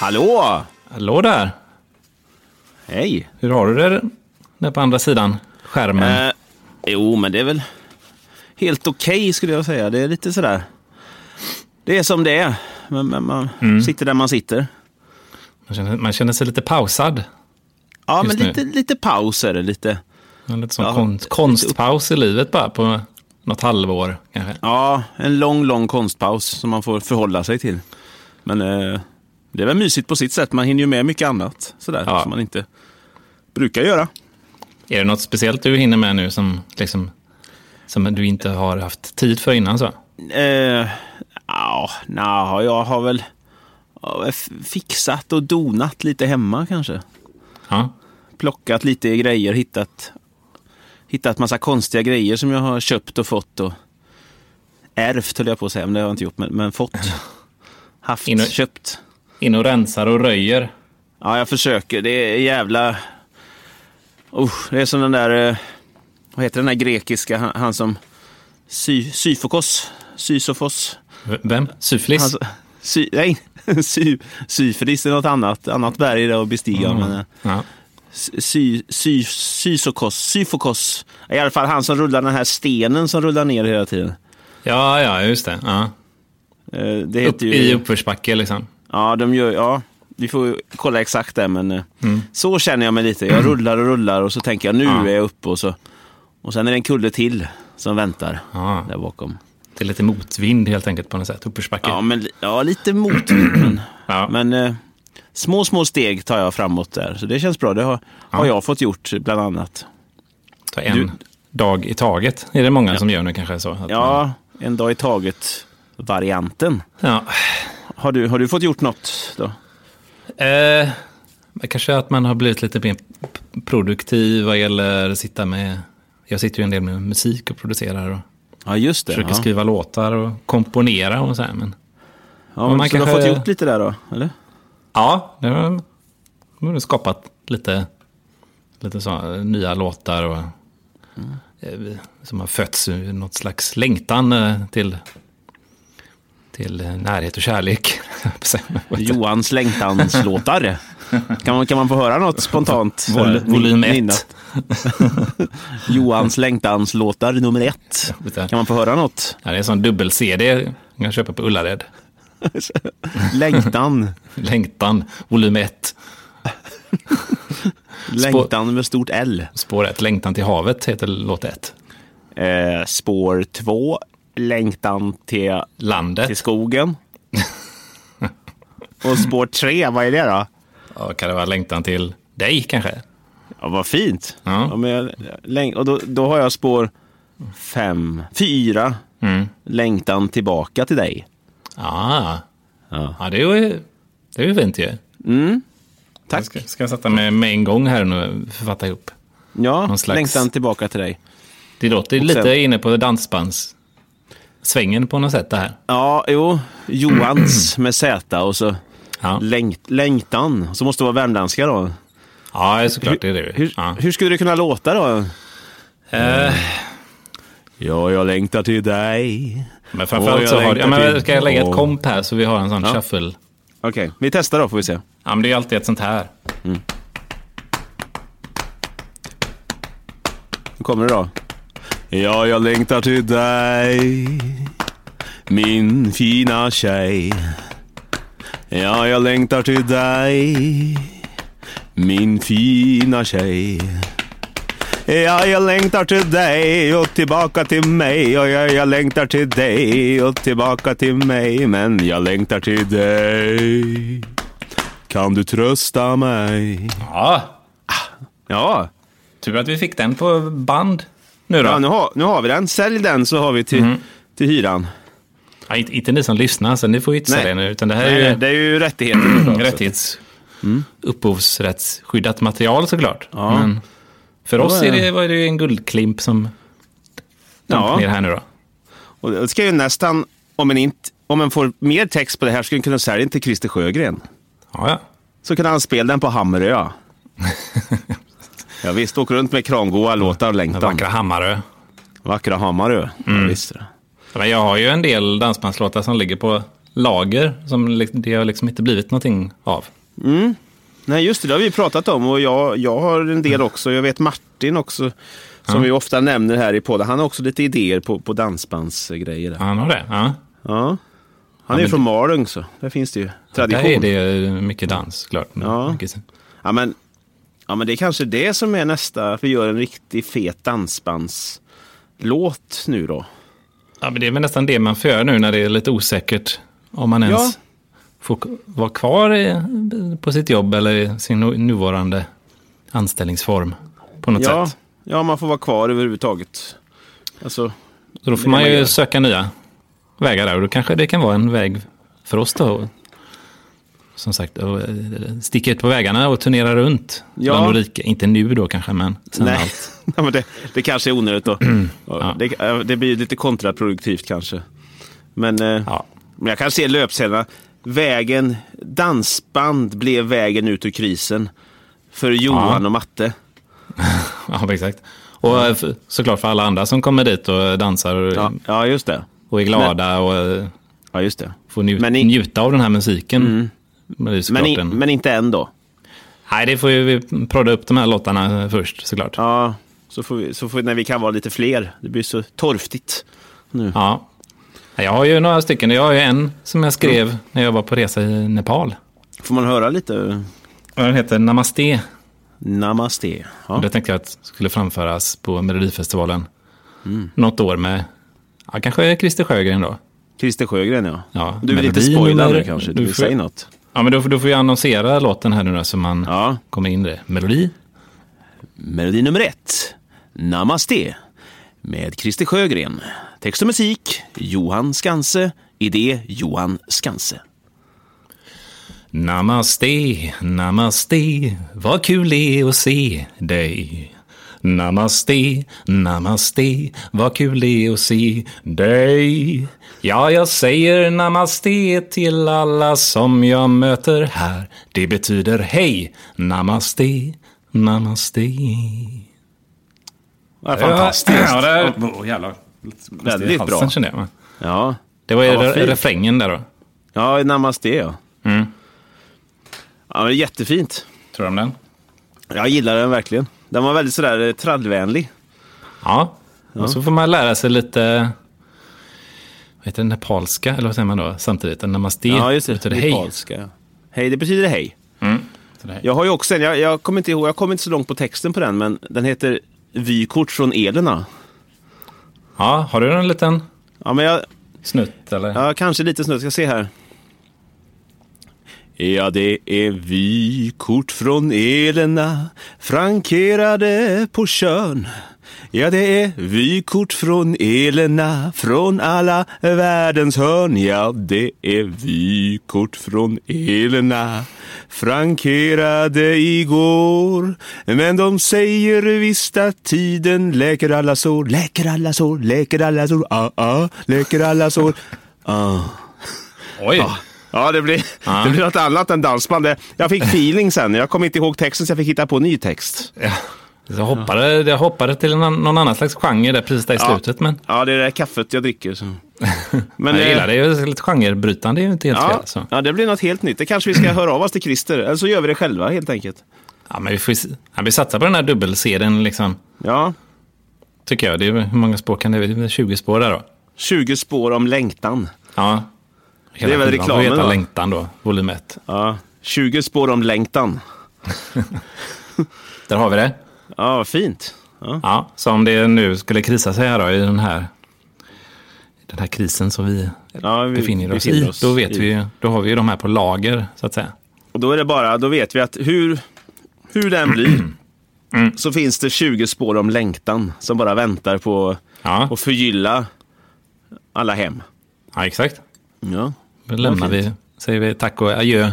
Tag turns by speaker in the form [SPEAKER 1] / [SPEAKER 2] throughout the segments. [SPEAKER 1] Hallå!
[SPEAKER 2] Hallå där!
[SPEAKER 1] Hej!
[SPEAKER 2] Hur har du det där på andra sidan skärmen?
[SPEAKER 1] Eh, jo, men det är väl helt okej skulle jag säga. Det är lite sådär... Det är som det är. Men, men man
[SPEAKER 2] Mm.
[SPEAKER 1] sitter där man sitter.
[SPEAKER 2] Man, känner, man känner sig lite pausad.
[SPEAKER 1] Ja,
[SPEAKER 2] Just
[SPEAKER 1] men
[SPEAKER 2] nu.
[SPEAKER 1] lite, lite paus är det. Lite.
[SPEAKER 2] En lite sån
[SPEAKER 1] Ja,
[SPEAKER 2] kon-
[SPEAKER 1] lite upp-
[SPEAKER 2] konstpaus i livet bara på något halvår kanske.
[SPEAKER 1] Ja, en lång, lång konstpaus som man får förhålla sig till. Men eh, det är väl mysigt på sitt sätt. Man hinner ju med mycket annat sådär,
[SPEAKER 2] Ja.
[SPEAKER 1] som man inte brukar göra.
[SPEAKER 2] Är det något speciellt du hinner med nu som, liksom, som du inte har haft tid för innan? Så?
[SPEAKER 1] Eh, ja, na, jag har väl ja, f- fixat och donat lite hemma kanske.
[SPEAKER 2] Ja.
[SPEAKER 1] plockat lite grejer, hittat, hittat massa konstiga grejer som jag har köpt och fått och ärvt höll jag på att säga, men det har jag inte gjort, men, men fått. Haft,
[SPEAKER 2] In och-
[SPEAKER 1] köpt.
[SPEAKER 2] In och rensar och röjer.
[SPEAKER 1] Ja, jag försöker. Det är jävla... Usch, det är som den där... eh, Vad heter den där grekiska, han, han som... Sy, syfokos? Sysofos?
[SPEAKER 2] V- Vem? Syflis?
[SPEAKER 1] Han, som- sy, nej, sy, syfris är något annat, annat berg där att bestiga.
[SPEAKER 2] Mm.
[SPEAKER 1] Men, eh,
[SPEAKER 2] ja.
[SPEAKER 1] sy, sy, sysokos, syfokos. I alla fall han som rullar den här stenen som rullar ner hela tiden.
[SPEAKER 2] ja, ja, just det. Ja.
[SPEAKER 1] Eh, Det
[SPEAKER 2] Upp,
[SPEAKER 1] heter
[SPEAKER 2] I
[SPEAKER 1] ju...
[SPEAKER 2] uppförsbacke liksom.
[SPEAKER 1] Ja, de gör... Ja, vi får ju kolla exakt där, men eh, så känner jag mig lite. Jag rullar och rullar och så tänker jag nu
[SPEAKER 2] Mm. Ja.
[SPEAKER 1] är jag uppe och så... Och sen är det en kulle till som väntar
[SPEAKER 2] Ja.
[SPEAKER 1] där bakom.
[SPEAKER 2] Det är lite motvind helt enkelt på något sätt. Uppförsbacke.
[SPEAKER 1] Ja, men, ja lite motvind, men...
[SPEAKER 2] Ja.
[SPEAKER 1] men eh, små, små steg tar jag framåt där, så det känns bra. Det har, har jag fått gjort, bland annat.
[SPEAKER 2] Ta en
[SPEAKER 1] Du-
[SPEAKER 2] dag i taget. Är det många som gör nu kanske? så? Att man-
[SPEAKER 1] Ja, en dag i taget-varianten.
[SPEAKER 2] ja.
[SPEAKER 1] Har du, har du fått gjort något då?
[SPEAKER 2] Eh, kanske att man har blivit lite mer p- produktiv vad gäller att sitta med... Jag sitter ju en del med musik och producerar och
[SPEAKER 1] Ja, just det.
[SPEAKER 2] försöker
[SPEAKER 1] ja.
[SPEAKER 2] skriva låtar och komponera och så här. Men,
[SPEAKER 1] ja, men
[SPEAKER 2] men man
[SPEAKER 1] så du har
[SPEAKER 2] kanske-
[SPEAKER 1] fått gjort lite där då, eller?
[SPEAKER 2] ja, det har det har skapat lite, lite så, nya låtar och eh, som har fötts ur något slags längtan eh, till, till eh, närhet och kärlek.
[SPEAKER 1] Johans längtanslåtar. kan, man, kan man få höra något spontant? så här,
[SPEAKER 2] Vol- volym
[SPEAKER 1] min-
[SPEAKER 2] 1.
[SPEAKER 1] minnat? Johans längtanslåtar nummer ett. Kan man få höra något?
[SPEAKER 2] Ja, det är en sån dubbel-CD man kan köpa på Ullared.
[SPEAKER 1] Längtan.
[SPEAKER 2] Längtan, volym 1.
[SPEAKER 1] Längtan med stort L.
[SPEAKER 2] Spår 1, Längtan till havet heter låt 1.
[SPEAKER 1] Eh, spår två. Längtan till, till
[SPEAKER 2] Landet,
[SPEAKER 1] skogen. Och spår tre, vad är det då?
[SPEAKER 2] ja, kan det vara Längtan till dig kanske?
[SPEAKER 1] Ja, vad fint.
[SPEAKER 2] Ja.
[SPEAKER 1] Ja, men jag, läng- och då, då har jag spår fem, fyra, längtan tillbaka till dig.
[SPEAKER 2] Mm. Ah,
[SPEAKER 1] Ja. Mm.
[SPEAKER 2] ja, det är ju, det är ju fint ju.
[SPEAKER 1] Tack.
[SPEAKER 2] Jag ska, ska jag sätta mig med en gång här nu och författa ihop.
[SPEAKER 1] Ja,
[SPEAKER 2] Någon slags-
[SPEAKER 1] längtan tillbaka till dig.
[SPEAKER 2] Det låter ju
[SPEAKER 1] Och sen-
[SPEAKER 2] lite inne på dansbandssvängen på något sätt det här.
[SPEAKER 1] Ja, jo. Johans med Z och så
[SPEAKER 2] Ja,
[SPEAKER 1] längt, längtan. Så måste det vara värmländska då.
[SPEAKER 2] ja såklart det är det ju.
[SPEAKER 1] Hur,
[SPEAKER 2] Ja.
[SPEAKER 1] hur skulle det kunna låta då?
[SPEAKER 2] Eh,
[SPEAKER 1] Ja, jag längtar till dig.
[SPEAKER 2] Men
[SPEAKER 1] Åh, jag
[SPEAKER 2] framförallt så har
[SPEAKER 1] längtar
[SPEAKER 2] ja, men
[SPEAKER 1] till-
[SPEAKER 2] Ska jag lägga ett
[SPEAKER 1] Åh.
[SPEAKER 2] komp här så vi har en sån
[SPEAKER 1] Ja.
[SPEAKER 2] shuffle?
[SPEAKER 1] Okej, vi testar då får vi se.
[SPEAKER 2] Ja, men det är alltid ett sånt här.
[SPEAKER 1] Nu kommer det då. Ja, jag längtar till dig, min fina tjej. Ja, jag längtar till dig, min fina tjej. Ja, jag längtar till dig och tillbaka till mig. Och ja, jag längtar till dig och tillbaka till mig. Men jag längtar till dig. Kan du trösta mig?
[SPEAKER 2] Ja,
[SPEAKER 1] Ja,
[SPEAKER 2] Tur att vi fick den på band nu då.
[SPEAKER 1] Ja, nu, har, nu har vi den. Sälj den så har vi till, till hyran.
[SPEAKER 2] Ja, inte, inte ni som lyssnar, så ni får ju inte
[SPEAKER 1] Nej.
[SPEAKER 2] sälja den. Utan det här
[SPEAKER 1] Nej,
[SPEAKER 2] är ju
[SPEAKER 1] nej, det är ju rättigheter. då, alltså.
[SPEAKER 2] rättighets... upphovsrättsskyddat material såklart.
[SPEAKER 1] Ja.
[SPEAKER 2] Men för oss
[SPEAKER 1] ja.
[SPEAKER 2] är det, var det ju en guldklimp som ja. ner
[SPEAKER 1] Ja,
[SPEAKER 2] här nu då.
[SPEAKER 1] och det ska ju nästan, om en, inte, om en får mer text på det här, skulle en kunna sälja den till Christer Sjögren.
[SPEAKER 2] Ja, ja.
[SPEAKER 1] Så kan han spela den på Hammarö. ja, visst, åker runt med kramgoa låtar och
[SPEAKER 2] Den
[SPEAKER 1] längtan.
[SPEAKER 2] vackra Hammarö.
[SPEAKER 1] Vackra Hammarö. Ja, visst.
[SPEAKER 2] Men jag har ju en del dansbandslåtar som ligger på lager som li- det har liksom inte blivit någonting av.
[SPEAKER 1] Nej, just det. Det har vi pratat om och jag, jag har en del också. Jag vet Martin också, som vi ofta nämner här i podden. Han har också lite idéer på, på dansbandsgrejer. där.
[SPEAKER 2] Han har det? Ja.
[SPEAKER 1] Ja. Han är ju från Malung, så där finns det ju tradition.
[SPEAKER 2] Där är det eh, mycket dans, klart.
[SPEAKER 1] Ja.
[SPEAKER 2] Mycket-
[SPEAKER 1] Ja, men, ja, men det är kanske det som är nästa, att vi gör en riktig fet dansbandslåt nu då.
[SPEAKER 2] Ja, men det är väl nästan det man får göra nu när det är lite osäkert om man ens
[SPEAKER 1] Ja.
[SPEAKER 2] får k- vara kvar i, på sitt jobb eller i sin nu- nuvarande anställningsform på något
[SPEAKER 1] Ja,
[SPEAKER 2] sätt.
[SPEAKER 1] ja, man får vara kvar överhuvudtaget. Alltså,
[SPEAKER 2] Så då
[SPEAKER 1] det
[SPEAKER 2] får man
[SPEAKER 1] man
[SPEAKER 2] ju
[SPEAKER 1] gör.
[SPEAKER 2] söka nya vägar där och då kanske det kan vara en väg för oss då. Som sagt, och, eh, sticka ut på vägarna och turnera runt
[SPEAKER 1] Ja.
[SPEAKER 2] bland de rika. Inte nu då kanske, men sen
[SPEAKER 1] nej.
[SPEAKER 2] allt.
[SPEAKER 1] ja, men det, det kanske är onödigt då. ja. det, det blir lite kontraproduktivt kanske. Men, eh,
[SPEAKER 2] Ja.
[SPEAKER 1] men jag kan se löpsedlarna. Vägen, dansband blev vägen ut ur krisen. För Johan och Matte.
[SPEAKER 2] ja, exakt. Och eh, f- såklart för alla andra som kommer dit och dansar och,
[SPEAKER 1] Ja, ja just det.
[SPEAKER 2] och är glada och eh,
[SPEAKER 1] Ja, just det.
[SPEAKER 2] får nju-
[SPEAKER 1] Men i- Mm.
[SPEAKER 2] njuta av den här musiken. Men det är såklart
[SPEAKER 1] Men, i,
[SPEAKER 2] en...
[SPEAKER 1] men inte än då.
[SPEAKER 2] Nej, det får ju vi prodda upp de här låtarna först såklart. Ja,
[SPEAKER 1] Ja, så får vi, så får vi, när vi kan vara lite fler. Det blir så torftigt.
[SPEAKER 2] Nej, Jag har ju några stycken. Jag har ju en som jag skrev när jag var på resa i Nepal.
[SPEAKER 1] Får man höra lite
[SPEAKER 2] Och Den heter Namaste.
[SPEAKER 1] namaste?
[SPEAKER 2] Och
[SPEAKER 1] Ja,
[SPEAKER 2] Det tänkte jag att skulle framföras på Melodifestivalen.
[SPEAKER 1] Mm.
[SPEAKER 2] Något år med, ja, kanske Christer Sjögren då.
[SPEAKER 1] Christer Sjögren ja.
[SPEAKER 2] Ja,
[SPEAKER 1] du vill inte
[SPEAKER 2] melodin
[SPEAKER 1] spoila
[SPEAKER 2] eller-
[SPEAKER 1] nu kanske? Du
[SPEAKER 2] du
[SPEAKER 1] vill
[SPEAKER 2] får-
[SPEAKER 1] säga något?
[SPEAKER 2] Ja, men då, får- då får jag annonsera låten här nu då, så man
[SPEAKER 1] Ja.
[SPEAKER 2] kommer in i det. Melodi?
[SPEAKER 1] Melodi nummer ett, Namaste, med Christer Sjögren. Text och musik, Johan Skanse. Idé, Johan Skanse.
[SPEAKER 2] Namaste, namaste, vad kul det är att se dig. Namaste, namaste, vad kul det är att se dig. Ja, jag säger namaste till alla som jag möter här. Det betyder hej, namaste, namaste.
[SPEAKER 1] Ja, fantastiskt.
[SPEAKER 2] Ja, där. Oh, jävlar.
[SPEAKER 1] Väldigt
[SPEAKER 2] Väldigt
[SPEAKER 1] bra.
[SPEAKER 2] bra. Känner jag.
[SPEAKER 1] Ja,
[SPEAKER 2] Det var ju
[SPEAKER 1] Ja, vad fint.
[SPEAKER 2] refrängen där då.
[SPEAKER 1] ja Namaste ja.
[SPEAKER 2] Mm.
[SPEAKER 1] Ja, det är jättefint.
[SPEAKER 2] Tror du om den?
[SPEAKER 1] Jag gillar den verkligen. Den var väldigt sådär eh, trallvänlig.
[SPEAKER 2] Ja, och så får man lära sig lite vad heter det, nepalska, eller vad säger man då, samtidigt? En Namaste
[SPEAKER 1] Ja, just det.
[SPEAKER 2] betyder hej.
[SPEAKER 1] Nepalska. Hej. hej, det betyder hej. Jag har ju också en, jag, jag kommer inte ihåg, jag kommer inte så långt på texten på den, men den heter Vykort från Elena.
[SPEAKER 2] Ja, har du en liten
[SPEAKER 1] Ja, men jag,
[SPEAKER 2] snutt eller?
[SPEAKER 1] ja, kanske lite snutt, ska se här. Ja, det är vykort från Elena, frankerade på Tjörn. Ja, det är vykort från Elena, från alla världens hörn. Ja, det är vykort från Elena, frankerade igår. Men de säger visst att tiden läker alla sår, läker alla sår, läker alla sår, ah, ah, läker alla sår. Ah.
[SPEAKER 2] Oj!
[SPEAKER 1] Ja, det blir, det blir något annat än dansband. Det- Jag fick feeling sen. Jag kom inte ihåg texten så jag fick hitta på ny text.
[SPEAKER 2] Ja. Jag, hoppade, jag hoppade till en, an- någon annan slags genre där precis där i slutet, men
[SPEAKER 1] Ja, det är det där kaffet jag dricker. Så. Men,
[SPEAKER 2] jag
[SPEAKER 1] eh,
[SPEAKER 2] gillar det. det. är ju Lite genrebrytande är ju inte helt fel.
[SPEAKER 1] Ja,
[SPEAKER 2] Alltså.
[SPEAKER 1] ja, det blir något helt nytt. Det kanske vi ska höra av oss till Christer. Eller så gör vi det själva helt enkelt.
[SPEAKER 2] Ja, men vi, får, ju se- ja, vi satsar på den här dubbelserien, liksom,
[SPEAKER 1] Ja,
[SPEAKER 2] tycker jag. Det är, hur många spår kan det vara? Det är 20 spår där då?
[SPEAKER 1] 20 spår om längtan.
[SPEAKER 2] Ja. Hela
[SPEAKER 1] Det är väl
[SPEAKER 2] skivan får
[SPEAKER 1] reklamen,
[SPEAKER 2] heta
[SPEAKER 1] va?
[SPEAKER 2] Längtan då, volym 1.
[SPEAKER 1] Ja, 20 spår om längtan.
[SPEAKER 2] Där har vi det.
[SPEAKER 1] Ja, vad fint. Ja.
[SPEAKER 2] Ja, så om det nu skulle krisa sig här då, i den här, den här krisen som vi
[SPEAKER 1] Ja, vi
[SPEAKER 2] befinner oss
[SPEAKER 1] befinner
[SPEAKER 2] i,
[SPEAKER 1] oss
[SPEAKER 2] då, vet
[SPEAKER 1] i.
[SPEAKER 2] Vi, ju- då har vi ju de här på lager, så att säga.
[SPEAKER 1] Och då är det bara, då vet vi att hur, hur den blir
[SPEAKER 2] Mm.
[SPEAKER 1] så finns det 20 spår om längtan som bara väntar på
[SPEAKER 2] Ja,
[SPEAKER 1] och förgylla alla hem.
[SPEAKER 2] ja exakt.
[SPEAKER 1] Ja.
[SPEAKER 2] Då lämnar vi, säger vi tack och adjö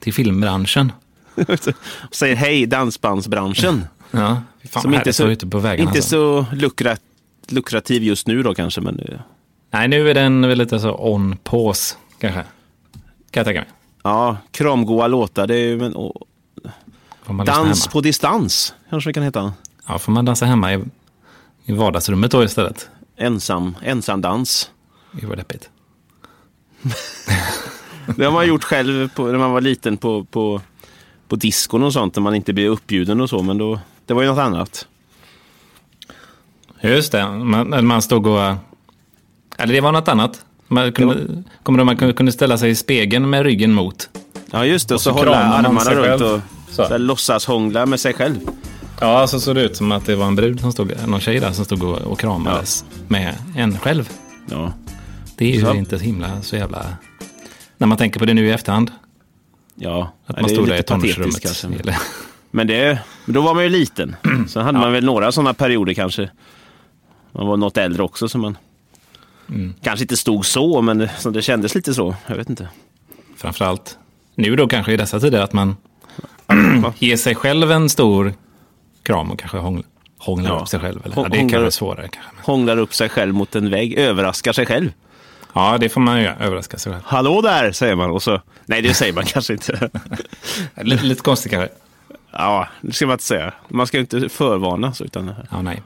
[SPEAKER 2] till filmbranschen.
[SPEAKER 1] Säger hej dansbandsbranschen.
[SPEAKER 2] Mm. Ja, fy fan
[SPEAKER 1] Som
[SPEAKER 2] vad
[SPEAKER 1] inte är
[SPEAKER 2] härligt
[SPEAKER 1] så,
[SPEAKER 2] att vara ute på vägarna.
[SPEAKER 1] inte
[SPEAKER 2] alltså.
[SPEAKER 1] så lukrat, lukrativ just nu då kanske. Men, eh,
[SPEAKER 2] Nej, nu är den väl lite så on pause, kanske. Kan jag tänka mig.
[SPEAKER 1] ja, kramgoa låtar. Det är, ju en- och,
[SPEAKER 2] Får man lyssna
[SPEAKER 1] dans
[SPEAKER 2] hemma.
[SPEAKER 1] på distans kanske vi kan heta.
[SPEAKER 2] Ja, får man dansa hemma i, i vardagsrummet då istället.
[SPEAKER 1] Ensam, ensam dans.
[SPEAKER 2] Gud vad deppigt.
[SPEAKER 1] Det har man gjort själv på, när man var liten på, på, på diskon och sånt, när man inte blev uppbjuden och så, men då, det var ju något annat.
[SPEAKER 2] Just det, man, man stod och... Eller det var något annat. Man kunde, kommer du ihåg, man kunde- kunde ställa sig i spegeln med ryggen mot?
[SPEAKER 1] Ja, just det. Och så,
[SPEAKER 2] så
[SPEAKER 1] hålla
[SPEAKER 2] kramar man
[SPEAKER 1] armarna
[SPEAKER 2] sig
[SPEAKER 1] runt
[SPEAKER 2] själv.
[SPEAKER 1] och så.
[SPEAKER 2] Så.
[SPEAKER 1] här låtsas hångla med sig själv.
[SPEAKER 2] Ja, alltså, så såg det ut som att det var en brud som stod, någon tjej där som stod och, och kramades med en själv.
[SPEAKER 1] Ja.
[SPEAKER 2] Det är ju
[SPEAKER 1] Så.
[SPEAKER 2] inte så himla så jävla... När man tänker på det nu i efterhand.
[SPEAKER 1] Ja,
[SPEAKER 2] Att
[SPEAKER 1] Nej,
[SPEAKER 2] man
[SPEAKER 1] det är
[SPEAKER 2] stod där i
[SPEAKER 1] lite patetiskt
[SPEAKER 2] tonårsrummet.
[SPEAKER 1] kanske, men-
[SPEAKER 2] Eller-
[SPEAKER 1] Men det, men då var man ju liten. Sen hade man väl några sådana perioder kanske. Man var något äldre också, så man kanske inte stod så, men det, så det kändes lite så. Jag vet inte.
[SPEAKER 2] Framförallt nu då kanske i dessa tider att man ger sig själv en stor kram och kanske hånglar, hånglar
[SPEAKER 1] Ja.
[SPEAKER 2] upp sig själv. Eller?
[SPEAKER 1] Hå-
[SPEAKER 2] Ja, det är
[SPEAKER 1] hånglar
[SPEAKER 2] kanske
[SPEAKER 1] upp.
[SPEAKER 2] svårare. Kanske. men-
[SPEAKER 1] Hånglar upp sig själv mot en vägg, överraskar sig själv.
[SPEAKER 2] Ja, det får man ju göra, överraska sig själv.
[SPEAKER 1] Hallå där, säger man. Och så, nej, det säger man kanske inte.
[SPEAKER 2] Lite, lite konstigt kanske.
[SPEAKER 1] Ja, det ska man inte säga. Man ska ju inte förvarnas. Utan,
[SPEAKER 2] Ja, nej.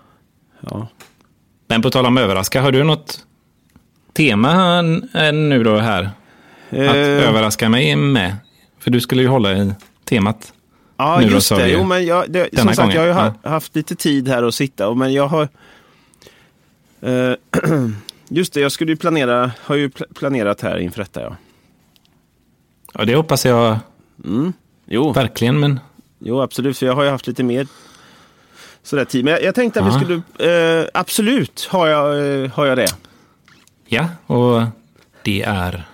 [SPEAKER 1] ja.
[SPEAKER 2] Men på tal om överraska, har du något tema eh, nu då här? Att
[SPEAKER 1] Eh,
[SPEAKER 2] överraska mig med? För du skulle ju hålla i temat.
[SPEAKER 1] Ja,
[SPEAKER 2] Nu då,
[SPEAKER 1] just
[SPEAKER 2] sa
[SPEAKER 1] det.
[SPEAKER 2] vi ju.
[SPEAKER 1] Jo, men jag, det som
[SPEAKER 2] Denna
[SPEAKER 1] sagt, jag har ju
[SPEAKER 2] gången.
[SPEAKER 1] ha, haft lite tid här att sitta, och- men jag har... Eh, just det, jag skulle ju planera, har ju pl- planerat här inför detta, ja.
[SPEAKER 2] Och det hoppas jag
[SPEAKER 1] Jo,
[SPEAKER 2] verkligen, men
[SPEAKER 1] jo, absolut, för jag har ju haft lite mer sådär tid. Men jag, jag tänkte att vi
[SPEAKER 2] Ja.
[SPEAKER 1] skulle... Eh, absolut har jag, eh, har jag det.
[SPEAKER 2] ja. Och det är...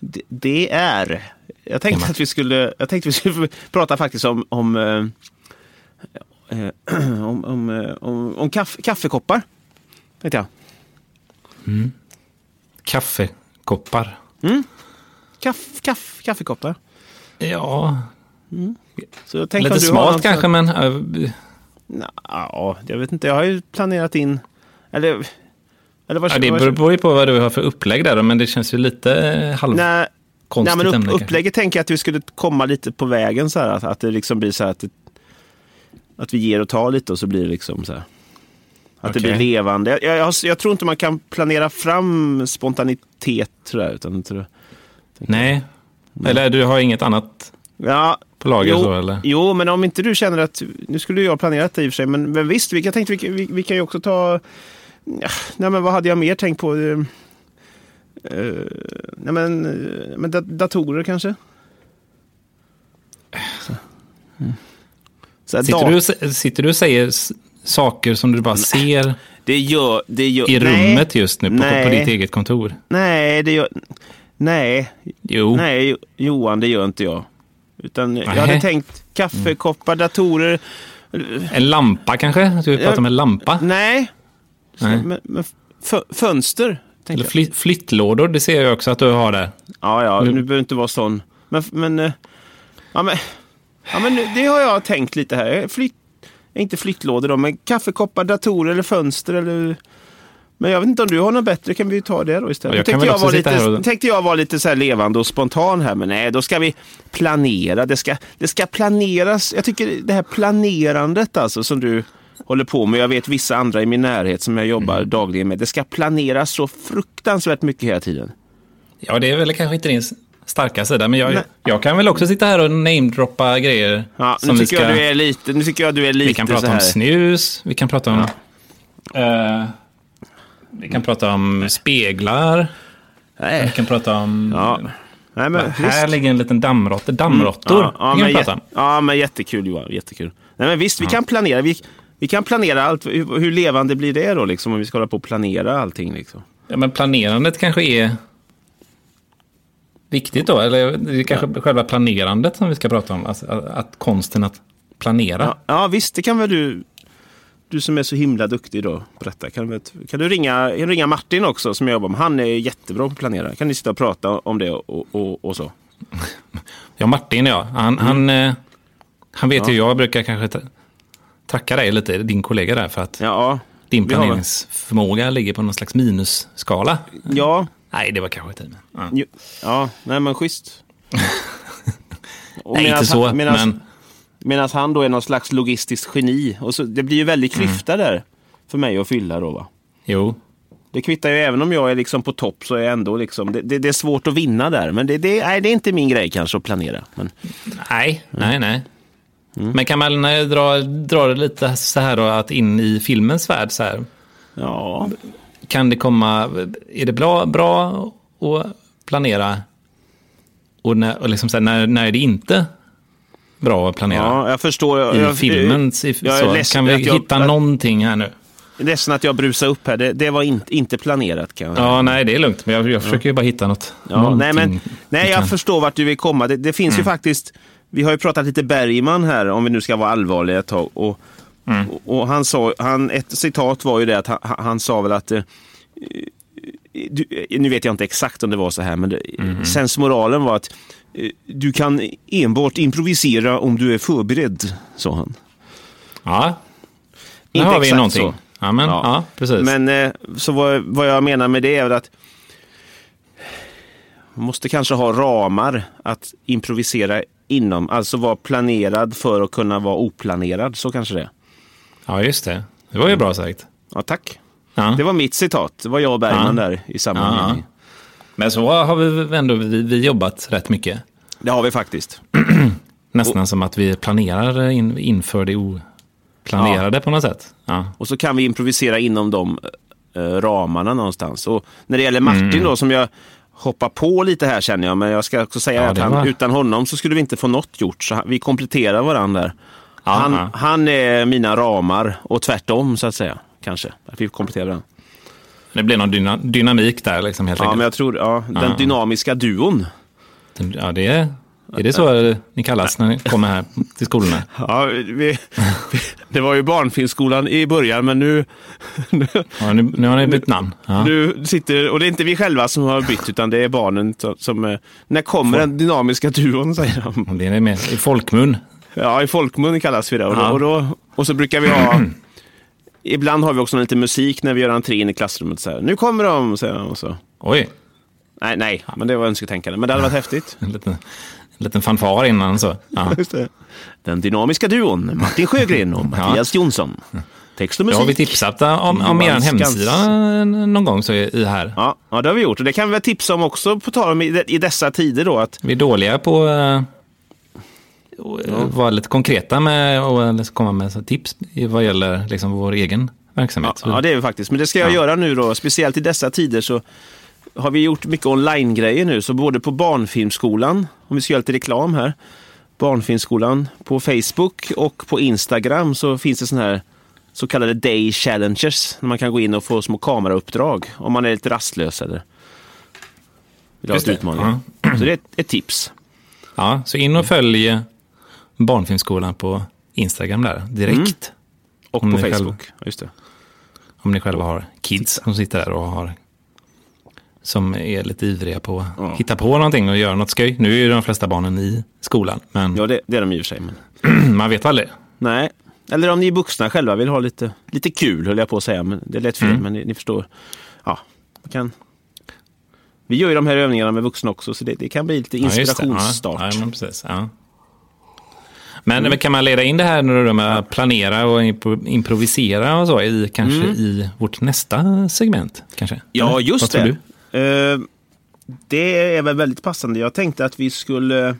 [SPEAKER 1] D- Det är... Jag tänkte
[SPEAKER 2] Tema.
[SPEAKER 1] att vi skulle, jag tänkte vi skulle prata faktiskt om, om, eh, eh, om, om, eh, om, om kaff, kaffekoppar. Tänkte jag.
[SPEAKER 2] Kaffekoppar.
[SPEAKER 1] Kaff, kaff, kaffekoppar.
[SPEAKER 2] Ja,
[SPEAKER 1] Så jag tänkte om
[SPEAKER 2] lite
[SPEAKER 1] du har
[SPEAKER 2] smalt
[SPEAKER 1] något-
[SPEAKER 2] kanske, men eh,
[SPEAKER 1] Nja, Ja, jag vet inte. Jag har ju planerat in... Eller, eller vad...
[SPEAKER 2] ja, det
[SPEAKER 1] vad-
[SPEAKER 2] beror beror ju på vad du har för upplägg där, då, men det känns ju lite eh, halvkonstigt
[SPEAKER 1] Nej, nej, men
[SPEAKER 2] ämne.
[SPEAKER 1] upp,
[SPEAKER 2] kanske.
[SPEAKER 1] upplägget tänker jag att vi skulle komma lite på vägen så här. Att, att det liksom blir så här att, det, att vi ger och tar lite och så blir det liksom så här. Att det
[SPEAKER 2] Okej.
[SPEAKER 1] blir levande. Jag, jag, jag, har- jag tror inte man kan planera fram spontanitet tror jag. Utan, tror jag.
[SPEAKER 2] Nej, eller du har inget annat
[SPEAKER 1] Ja,
[SPEAKER 2] på lager
[SPEAKER 1] jo,
[SPEAKER 2] så, eller?
[SPEAKER 1] Jo, men om inte du känner att... Nu skulle jag ha planerat det i och för sig, men, men visst, vi, jag tänkte vi, vi, vi kan ju också ta... Ja, Nej, men vad hade jag mer tänkt på? Eh, eh, nej, men, eh, men dat- datorer kanske? Så. Så här,
[SPEAKER 2] Sitter
[SPEAKER 1] dat-
[SPEAKER 2] du, och sä- sitter du och säger s- saker som du bara ser
[SPEAKER 1] det gör, det gör,
[SPEAKER 2] i
[SPEAKER 1] nej,
[SPEAKER 2] rummet just nu på, på
[SPEAKER 1] Nej.
[SPEAKER 2] ditt eget kontor?
[SPEAKER 1] Nej, det gör...
[SPEAKER 2] Mm.
[SPEAKER 1] Nej,
[SPEAKER 2] Jo,
[SPEAKER 1] nej, Jo- Johan, det gör inte jag. Utan jag
[SPEAKER 2] Nej. Mm.
[SPEAKER 1] hade tänkt kaffekoppar, datorer.
[SPEAKER 2] en lampa kanske? Ska vi prata om en lampa?
[SPEAKER 1] Nej,
[SPEAKER 2] Nej.
[SPEAKER 1] Men, men fö- fönster?
[SPEAKER 2] Eller
[SPEAKER 1] tänkte jag.
[SPEAKER 2] fly, flyttlådor, det ser jag också att du har där.
[SPEAKER 1] Ja, ja,
[SPEAKER 2] Mm.
[SPEAKER 1] nu behöver det inte vara sån. Men, men, eh, ja, men, ja, men nu- det har jag tänkt lite här. Flytt, inte flyttlådor då, men kaffekoppar, datorer eller fönster eller... Men jag vet inte om du har något bättre, kan vi ju ta det då istället.
[SPEAKER 2] Ja,
[SPEAKER 1] Nu
[SPEAKER 2] jag kan
[SPEAKER 1] tänkte
[SPEAKER 2] väl
[SPEAKER 1] jag,
[SPEAKER 2] också
[SPEAKER 1] vara
[SPEAKER 2] sitta
[SPEAKER 1] lite,
[SPEAKER 2] här och-
[SPEAKER 1] tänkte jag vara lite så här levande och spontan här, men nej, då ska vi planera. Det ska, det ska planeras. Jag tycker det här planerandet alltså som du håller på med. Jag vet vissa andra i min närhet som jag jobbar
[SPEAKER 2] Mm.
[SPEAKER 1] dagligen med. Det ska planeras så fruktansvärt mycket hela tiden.
[SPEAKER 2] Ja, det är väl kanske inte din s- starka sida, men
[SPEAKER 1] Nej.
[SPEAKER 2] jag, jag kan väl också sitta här och namedroppa grejer.
[SPEAKER 1] Ja, nu
[SPEAKER 2] vi
[SPEAKER 1] tycker, jag du är lite, nu tycker jag du är lite
[SPEAKER 2] Vi kan
[SPEAKER 1] så
[SPEAKER 2] prata
[SPEAKER 1] här.
[SPEAKER 2] om snus, vi kan prata om... Eh, vi kan prata om speglar, vi
[SPEAKER 1] Nej.
[SPEAKER 2] kan prata om...
[SPEAKER 1] Mm. Ja. Nej, men,
[SPEAKER 2] Här
[SPEAKER 1] visst. Mm.
[SPEAKER 2] ligger en liten dammråtta. Dammråttor
[SPEAKER 1] Ja, ja,
[SPEAKER 2] vi kan
[SPEAKER 1] men,
[SPEAKER 2] vi prata om.
[SPEAKER 1] jä- ja, men jättekul Johan. Jättekul. Nej, men visst, vi kan planera. Vi, vi kan planera allt. Hur, hur levande blir det då, liksom, om vi ska hålla på och planera allting? Liksom.
[SPEAKER 2] Ja, men planerandet kanske är viktigt då? Eller det är kanske själva planerandet som vi ska prata om? Alltså, att, att konsten att planera.
[SPEAKER 1] Ja, ja, visst, det kan väl du... Du som är så himla duktig då på detta. Kan, väl- kan, du ringa, kan du ringa Martin också som jag jobbar med? Han är jättebra på att planera. Kan ni sitta och prata om det och, och, och så?
[SPEAKER 2] Ja, Martin ja. Han,
[SPEAKER 1] Mm.
[SPEAKER 2] han, eh, han vet ju, jag brukar kanske ta- tacka dig lite, din kollega där, för att
[SPEAKER 1] Ja,
[SPEAKER 2] din
[SPEAKER 1] vi har-
[SPEAKER 2] planeringsförmåga ligger på någon slags minusskala.
[SPEAKER 1] ja,
[SPEAKER 2] Nej, det var kanske inte... men- Ja.
[SPEAKER 1] Jo, ja, nej men schysst. Och
[SPEAKER 2] Nej,
[SPEAKER 1] medans
[SPEAKER 2] inte så,
[SPEAKER 1] han- medans-
[SPEAKER 2] men...
[SPEAKER 1] Medan han då är någon slags
[SPEAKER 2] Mm.
[SPEAKER 1] logistiskt geni. Och så, det blir ju väldigt klyfta där för mig att fylla då va.
[SPEAKER 2] Jo.
[SPEAKER 1] Det kvittar ju även om jag är liksom på topp så är jag ändå liksom, det, det, det är svårt att vinna där. Men det, det, nej, det är inte min grej kanske att planera. Men,
[SPEAKER 2] Nej,
[SPEAKER 1] Mm.
[SPEAKER 2] nej, nej. Men kan man eh, dra, dra det lite så här då, att in i filmens värld så här.
[SPEAKER 1] ja,
[SPEAKER 2] Kan det komma, är det bra, bra att planera? Och, när, och liksom så här, när, när är det inte bra att planera?
[SPEAKER 1] ja, jag förstår. Jag,
[SPEAKER 2] I
[SPEAKER 1] jag,
[SPEAKER 2] filmen, i,
[SPEAKER 1] jag är
[SPEAKER 2] så.
[SPEAKER 1] ledsen
[SPEAKER 2] Kan vi
[SPEAKER 1] att jag-
[SPEAKER 2] hitta
[SPEAKER 1] att-
[SPEAKER 2] någonting här nu?
[SPEAKER 1] Ledsen att jag brusade upp här. Det, det var in, inte planerat kan jag
[SPEAKER 2] Ja, nej, det är lugnt. Men jag, jag försöker ju bara hitta något.
[SPEAKER 1] Ja, nej, men,
[SPEAKER 2] någonting Mm.
[SPEAKER 1] nej,
[SPEAKER 2] vi
[SPEAKER 1] jag
[SPEAKER 2] kan-
[SPEAKER 1] förstår vart du vill komma. Det, det finns ju faktiskt, vi har ju pratat lite Bergman här, om vi nu ska vara allvarliga ett tag. Och,
[SPEAKER 2] Mm.
[SPEAKER 1] och, och han sa, han, ett citat var ju det att han, han sa väl att eh, du, eh, nu vet jag inte exakt om det var så här, men det,
[SPEAKER 2] Mm.
[SPEAKER 1] sensmoralen var att eh, du kan enbart improvisera om du är förberedd, sa han.
[SPEAKER 2] Ja, nu
[SPEAKER 1] Inte
[SPEAKER 2] har vi
[SPEAKER 1] exakt
[SPEAKER 2] någonting.
[SPEAKER 1] så.
[SPEAKER 2] Ja, men,
[SPEAKER 1] Ja.
[SPEAKER 2] ja. precis.
[SPEAKER 1] Men eh, så vad, vad jag menar med det är väl att man måste kanske ha ramar att improvisera inom. Alltså vara planerad för att kunna vara oplanerad. Så kanske det är.
[SPEAKER 2] Ja, just det. Det var ju bra sagt.
[SPEAKER 1] Ja, tack.
[SPEAKER 2] Ja.
[SPEAKER 1] Det var mitt citat. Det var jag och Bergman
[SPEAKER 2] Ja.
[SPEAKER 1] där i samma
[SPEAKER 2] Ja.
[SPEAKER 1] mening.
[SPEAKER 2] Men så har vi ändå vi, vi jobbat rätt mycket.
[SPEAKER 1] Det har vi faktiskt.
[SPEAKER 2] Nästan som att vi planerar in, inför det oplanerade på något sätt. Ja.
[SPEAKER 1] Och så kan vi improvisera inom de eh, ramarna någonstans. Och när det gäller Martin då, som jag hoppar på lite här känner jag, men jag ska också säga
[SPEAKER 2] Ja,
[SPEAKER 1] att
[SPEAKER 2] det
[SPEAKER 1] han,
[SPEAKER 2] var-
[SPEAKER 1] utan honom så skulle vi inte få något gjort. Så han- vi kompletterar varandra där.
[SPEAKER 2] Ja,
[SPEAKER 1] han,
[SPEAKER 2] ja.
[SPEAKER 1] han är mina ramar och tvärtom så att säga. Kanske. Att vi kompletterar varandra.
[SPEAKER 2] Det blir någon dyna, dynamik där liksom helt
[SPEAKER 1] Ja, men
[SPEAKER 2] enkelt.
[SPEAKER 1] jag tror, ja, den
[SPEAKER 2] Ja.
[SPEAKER 1] dynamiska duon.
[SPEAKER 2] Ja, det är, är det så ni kallas när ni kommer här till skolorna?
[SPEAKER 1] Ja, vi, det var ju barnfilmskolan i början, men nu,
[SPEAKER 2] Ja, nu, nu har ni bytt namn. Ja.
[SPEAKER 1] Nu sitter, och det är inte vi själva som har bytt utan det är barnen som... som eh, när kommer den dynamiska duon säger de.
[SPEAKER 2] Det är med, i folkmun.
[SPEAKER 1] Ja, i folkmun kallas vi det. Och, då,
[SPEAKER 2] Ja.
[SPEAKER 1] och, då, och så brukar vi ha... Ibland har vi också lite musik när vi gör entré in i klassrummet. Så här, nu kommer de, säger de. Och så.
[SPEAKER 2] Oj,
[SPEAKER 1] Nej, nej, men det var önsketänkande. Men det hade varit häftigt.
[SPEAKER 2] en liten, en liten fanfar innan så. Ja.
[SPEAKER 1] Just det. Den dynamiska duon, Martin Sjögren och Mattias Jonsson. Text och
[SPEAKER 2] Det
[SPEAKER 1] musik.
[SPEAKER 2] har vi tipsat om, om er
[SPEAKER 1] Johan Skans.
[SPEAKER 2] hemsida någon gång så är i här.
[SPEAKER 1] ja, ja, det har vi gjort. Och det kan vi väl tipsa om också, på tal om i, i dessa tider då. Att
[SPEAKER 2] Vi är dåliga på eh, att vara lite konkreta med och liksom komma med så tips i vad gäller liksom vår egen verksamhet.
[SPEAKER 1] Ja, det är vi faktiskt. Men det ska jag
[SPEAKER 2] Ja.
[SPEAKER 1] göra nu då. Speciellt i dessa tider så har vi gjort mycket online-grejer nu. Så både på Barnfilmskolan, om vi ska göra lite reklam här. Barnfilmskolan på Facebook och på Instagram så finns det sådana här så kallade day challenges. När man kan gå in och få små kamerauppdrag om man är lite rastlös eller vill ha
[SPEAKER 2] Just
[SPEAKER 1] lite
[SPEAKER 2] det.
[SPEAKER 1] utmaning. Så det är ett, ett tips.
[SPEAKER 2] Ja, så in
[SPEAKER 1] Mm.
[SPEAKER 2] och följ Barnfilmsskolan på Instagram där direkt.
[SPEAKER 1] Mm. Och
[SPEAKER 2] Om
[SPEAKER 1] på
[SPEAKER 2] ni själv-
[SPEAKER 1] Facebook. Ja, Just det.
[SPEAKER 2] Om ni själva har kids som sitter där och har som är lite ivriga på att
[SPEAKER 1] Ja.
[SPEAKER 2] hitta på någonting och göra något skoj. Nu är ju de flesta barnen i skolan, men
[SPEAKER 1] Ja, det, det är de i och för sig. Men...
[SPEAKER 2] man vet aldrig.
[SPEAKER 1] Nej. Eller om ni vuxna själva vill ha lite, lite kul, höll jag på att säga. Men det lät fel,
[SPEAKER 2] Mm.
[SPEAKER 1] men ni, ni förstår. Ja, man kan... Vi gör ju de här övningarna med vuxna också, så det, det kan bli lite
[SPEAKER 2] Ja, just det.
[SPEAKER 1] inspirationsstart.
[SPEAKER 2] Ja, ja, men precis. Ja. Men men kan man leda in det här när du med att planera och impro- improvisera och så i, kanske i vårt nästa segment? Kanske?
[SPEAKER 1] Mm. Ja,
[SPEAKER 2] Eller?
[SPEAKER 1] just
[SPEAKER 2] Vad tror
[SPEAKER 1] det. Eh, det är väl väldigt passande. Jag tänkte att vi skulle... eh,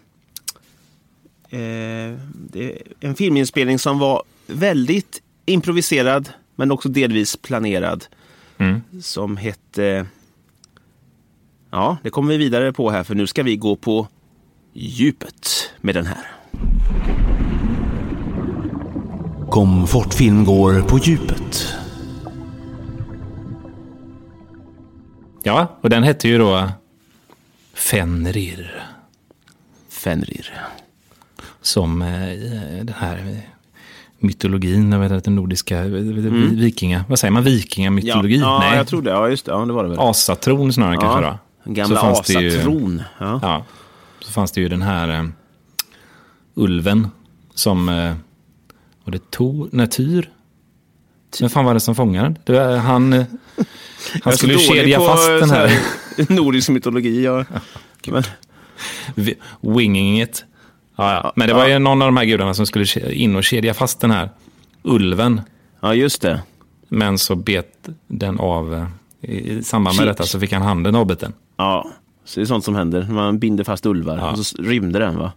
[SPEAKER 1] det, en filminspelning som var väldigt improviserad, men också delvis planerad.
[SPEAKER 2] Mm.
[SPEAKER 1] Som hette... Ja, det kommer vi vidare på här, för nu ska vi gå på djupet med den här. Komfortfilm går på djupet.
[SPEAKER 2] Ja, och den hette ju då Fenrir.
[SPEAKER 1] Fenrir.
[SPEAKER 2] Som eh, i, eh, den här eh, mytologin, jag vet inte, den nordiska, eh, vikinga, vad säger man, vikingamytologi?
[SPEAKER 1] Mm. Ja, ja
[SPEAKER 2] Nej,
[SPEAKER 1] jag tror det. Ja, just det. Ja, det var det väl.
[SPEAKER 2] asatron snarare kanske då.
[SPEAKER 1] Den gamla
[SPEAKER 2] Så fanns det ju-
[SPEAKER 1] asatron. Ja.
[SPEAKER 2] Ja, så fanns det ju den här eh, ulven som... Eh, var det Tor? Nej, Tyr? Vem fan var det som fångade den? Det var, han eh, han skulle ju kedja fast den här,
[SPEAKER 1] Nordisk mytologi. Ja. Men,
[SPEAKER 2] vi- winging it. Ja, ja. Men det
[SPEAKER 1] Ja.
[SPEAKER 2] var ju någon av de här gudarna som skulle ke- in och kedja fast den här ulven.
[SPEAKER 1] ja, just det.
[SPEAKER 2] Men så bet den av eh, I i samband med
[SPEAKER 1] Shit.
[SPEAKER 2] detta så fick han handen avbiten.
[SPEAKER 1] Ja, så det är sånt som händer. Man binder fast ulvar
[SPEAKER 2] Ja.
[SPEAKER 1] och så rymde den va.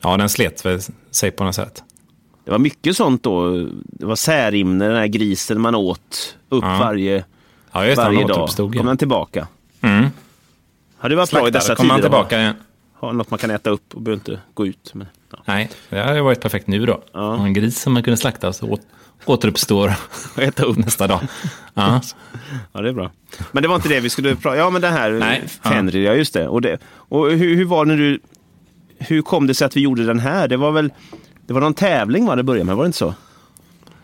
[SPEAKER 2] Ja, den slet väl sig på något sätt.
[SPEAKER 1] Det var mycket sånt då. Det var särimne, den här grisen man åt upp
[SPEAKER 2] Ja.
[SPEAKER 1] varje,
[SPEAKER 2] Ja, just det. Han
[SPEAKER 1] varje dag.
[SPEAKER 2] återuppstod.
[SPEAKER 1] Kom
[SPEAKER 2] ju.
[SPEAKER 1] den tillbaka.
[SPEAKER 2] Mm.
[SPEAKER 1] Hade det varit bra i dessa
[SPEAKER 2] Slaktare kom
[SPEAKER 1] tider
[SPEAKER 2] han
[SPEAKER 1] att
[SPEAKER 2] tillbaka igen.
[SPEAKER 1] ha något man kan äta upp och behöver inte gå ut. Men, ja.
[SPEAKER 2] Nej, det hade ju varit perfekt nu då.
[SPEAKER 1] Ja.
[SPEAKER 2] En gris som man kunde slakta och så åt, återuppstår
[SPEAKER 1] Och äta upp.
[SPEAKER 2] nästa dag. Ja.
[SPEAKER 1] Ja, det är bra. Men det var inte det vi skulle prata Ja, men det här
[SPEAKER 2] Nej.
[SPEAKER 1] Fenrir, ja just det. Och, det, och hur, hur var det när du... Hur kom det sig att vi gjorde den här? Det var väl... Det var någon tävling va, det började med, var det inte så?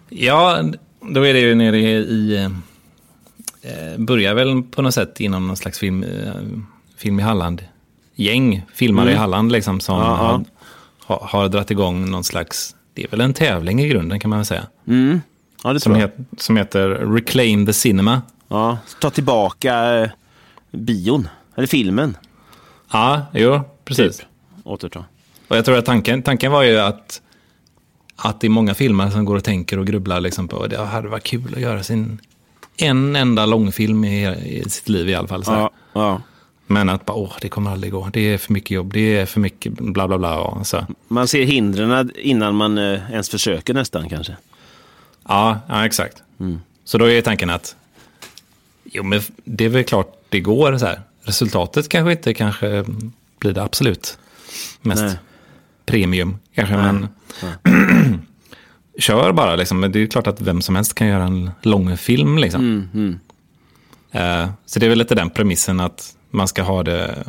[SPEAKER 2] Ja, då är det ju nere i... Eh, börjar väl på något sätt inom någon slags film, eh, film i Halland. Gäng filmare
[SPEAKER 1] Mm.
[SPEAKER 2] i Halland liksom som
[SPEAKER 1] Ja, ja.
[SPEAKER 2] har, har, har dragit igång någon slags... Det är väl en tävling i grunden kan man väl säga.
[SPEAKER 1] Ja, det
[SPEAKER 2] Som,
[SPEAKER 1] tror jag.
[SPEAKER 2] het, som heter Reclaim the Cinema.
[SPEAKER 1] Ja, ta tillbaka eh, bion, eller filmen.
[SPEAKER 2] Ja, jo, precis.
[SPEAKER 1] Återta.
[SPEAKER 2] Och jag tror att tanken, tanken var ju att, att det är många filmer som går och tänker och grubblar liksom på det hade varit kul att göra sin en enda långfilm i, i sitt liv i alla fall. Så här.
[SPEAKER 1] Ja, ja.
[SPEAKER 2] Men att bara, åh, det kommer aldrig gå, det är för mycket jobb, det är för mycket bla bla bla. Och så.
[SPEAKER 1] Man ser hindren innan man eh, ens försöker nästan kanske.
[SPEAKER 2] Ja, ja, exakt. Så då är tanken att, jo men det är väl klart det går så här. Resultatet kanske inte kanske blir det absolut mest
[SPEAKER 1] Nej.
[SPEAKER 2] premium kanske, men kör bara liksom. Men det är ju klart att vem som helst kan göra en lång film liksom. Eh, så det är väl lite den premissen att man ska ha det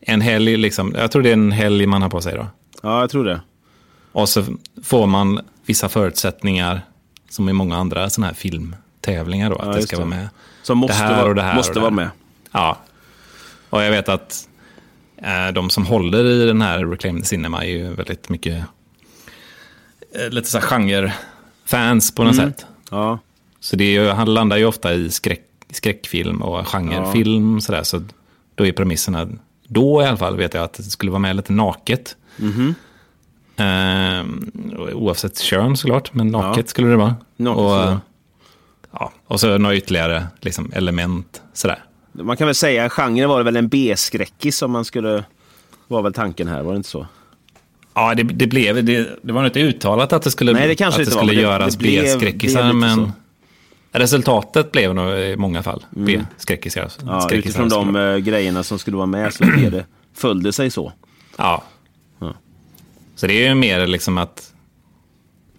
[SPEAKER 2] en helg liksom. Jag tror det är en helg man har på sig då.
[SPEAKER 1] Ja, jag tror det.
[SPEAKER 2] Och så får man vissa förutsättningar som i många andra sådana här filmtävlingar då. Att
[SPEAKER 1] Ja,
[SPEAKER 2] det
[SPEAKER 1] just
[SPEAKER 2] ska
[SPEAKER 1] det.
[SPEAKER 2] vara med.
[SPEAKER 1] Som måste,
[SPEAKER 2] här
[SPEAKER 1] vara-
[SPEAKER 2] och det här
[SPEAKER 1] måste
[SPEAKER 2] och det
[SPEAKER 1] vara
[SPEAKER 2] här.
[SPEAKER 1] med.
[SPEAKER 2] Ja. Och jag vet att eh, de som håller i den här Reclaimed Cinema är ju väldigt mycket eh, lite så här genre-fans på något
[SPEAKER 1] Mm.
[SPEAKER 2] sätt.
[SPEAKER 1] Ja,
[SPEAKER 2] Så det är ju, han landar ju ofta i skräck, skräckfilm och genrefilm. Sådär, så då är premisserna, då i alla fall vet jag att det skulle vara med lite naket.
[SPEAKER 1] Mhm.
[SPEAKER 2] Ehm, oavsett kön såklart, men naket skulle det vara.
[SPEAKER 1] Naket
[SPEAKER 2] och,
[SPEAKER 1] skulle det vara.
[SPEAKER 2] ja, och så några ytterligare liksom, element. Sådär.
[SPEAKER 1] man kan väl säga genren var det väl en B-skräckis som man skulle... Var väl tanken här, var det inte så?
[SPEAKER 2] Ja, det, det, blev, det, det var nog inte uttalat att det skulle,
[SPEAKER 1] Nej, det kanske
[SPEAKER 2] att det
[SPEAKER 1] inte var,
[SPEAKER 2] skulle
[SPEAKER 1] men det-
[SPEAKER 2] göras
[SPEAKER 1] det blev- blev
[SPEAKER 2] B-skräckisar,
[SPEAKER 1] lite
[SPEAKER 2] men
[SPEAKER 1] så. Mm.
[SPEAKER 2] resultatet blev nog i många fall B-skräckisar.
[SPEAKER 1] Ja,
[SPEAKER 2] skräckisar
[SPEAKER 1] utifrån
[SPEAKER 2] skulle
[SPEAKER 1] de
[SPEAKER 2] vara.
[SPEAKER 1] eh, grejerna som skulle vara med så blev det, följde sig så.
[SPEAKER 2] Ja.
[SPEAKER 1] Ja.
[SPEAKER 2] Så det är ju mer liksom att,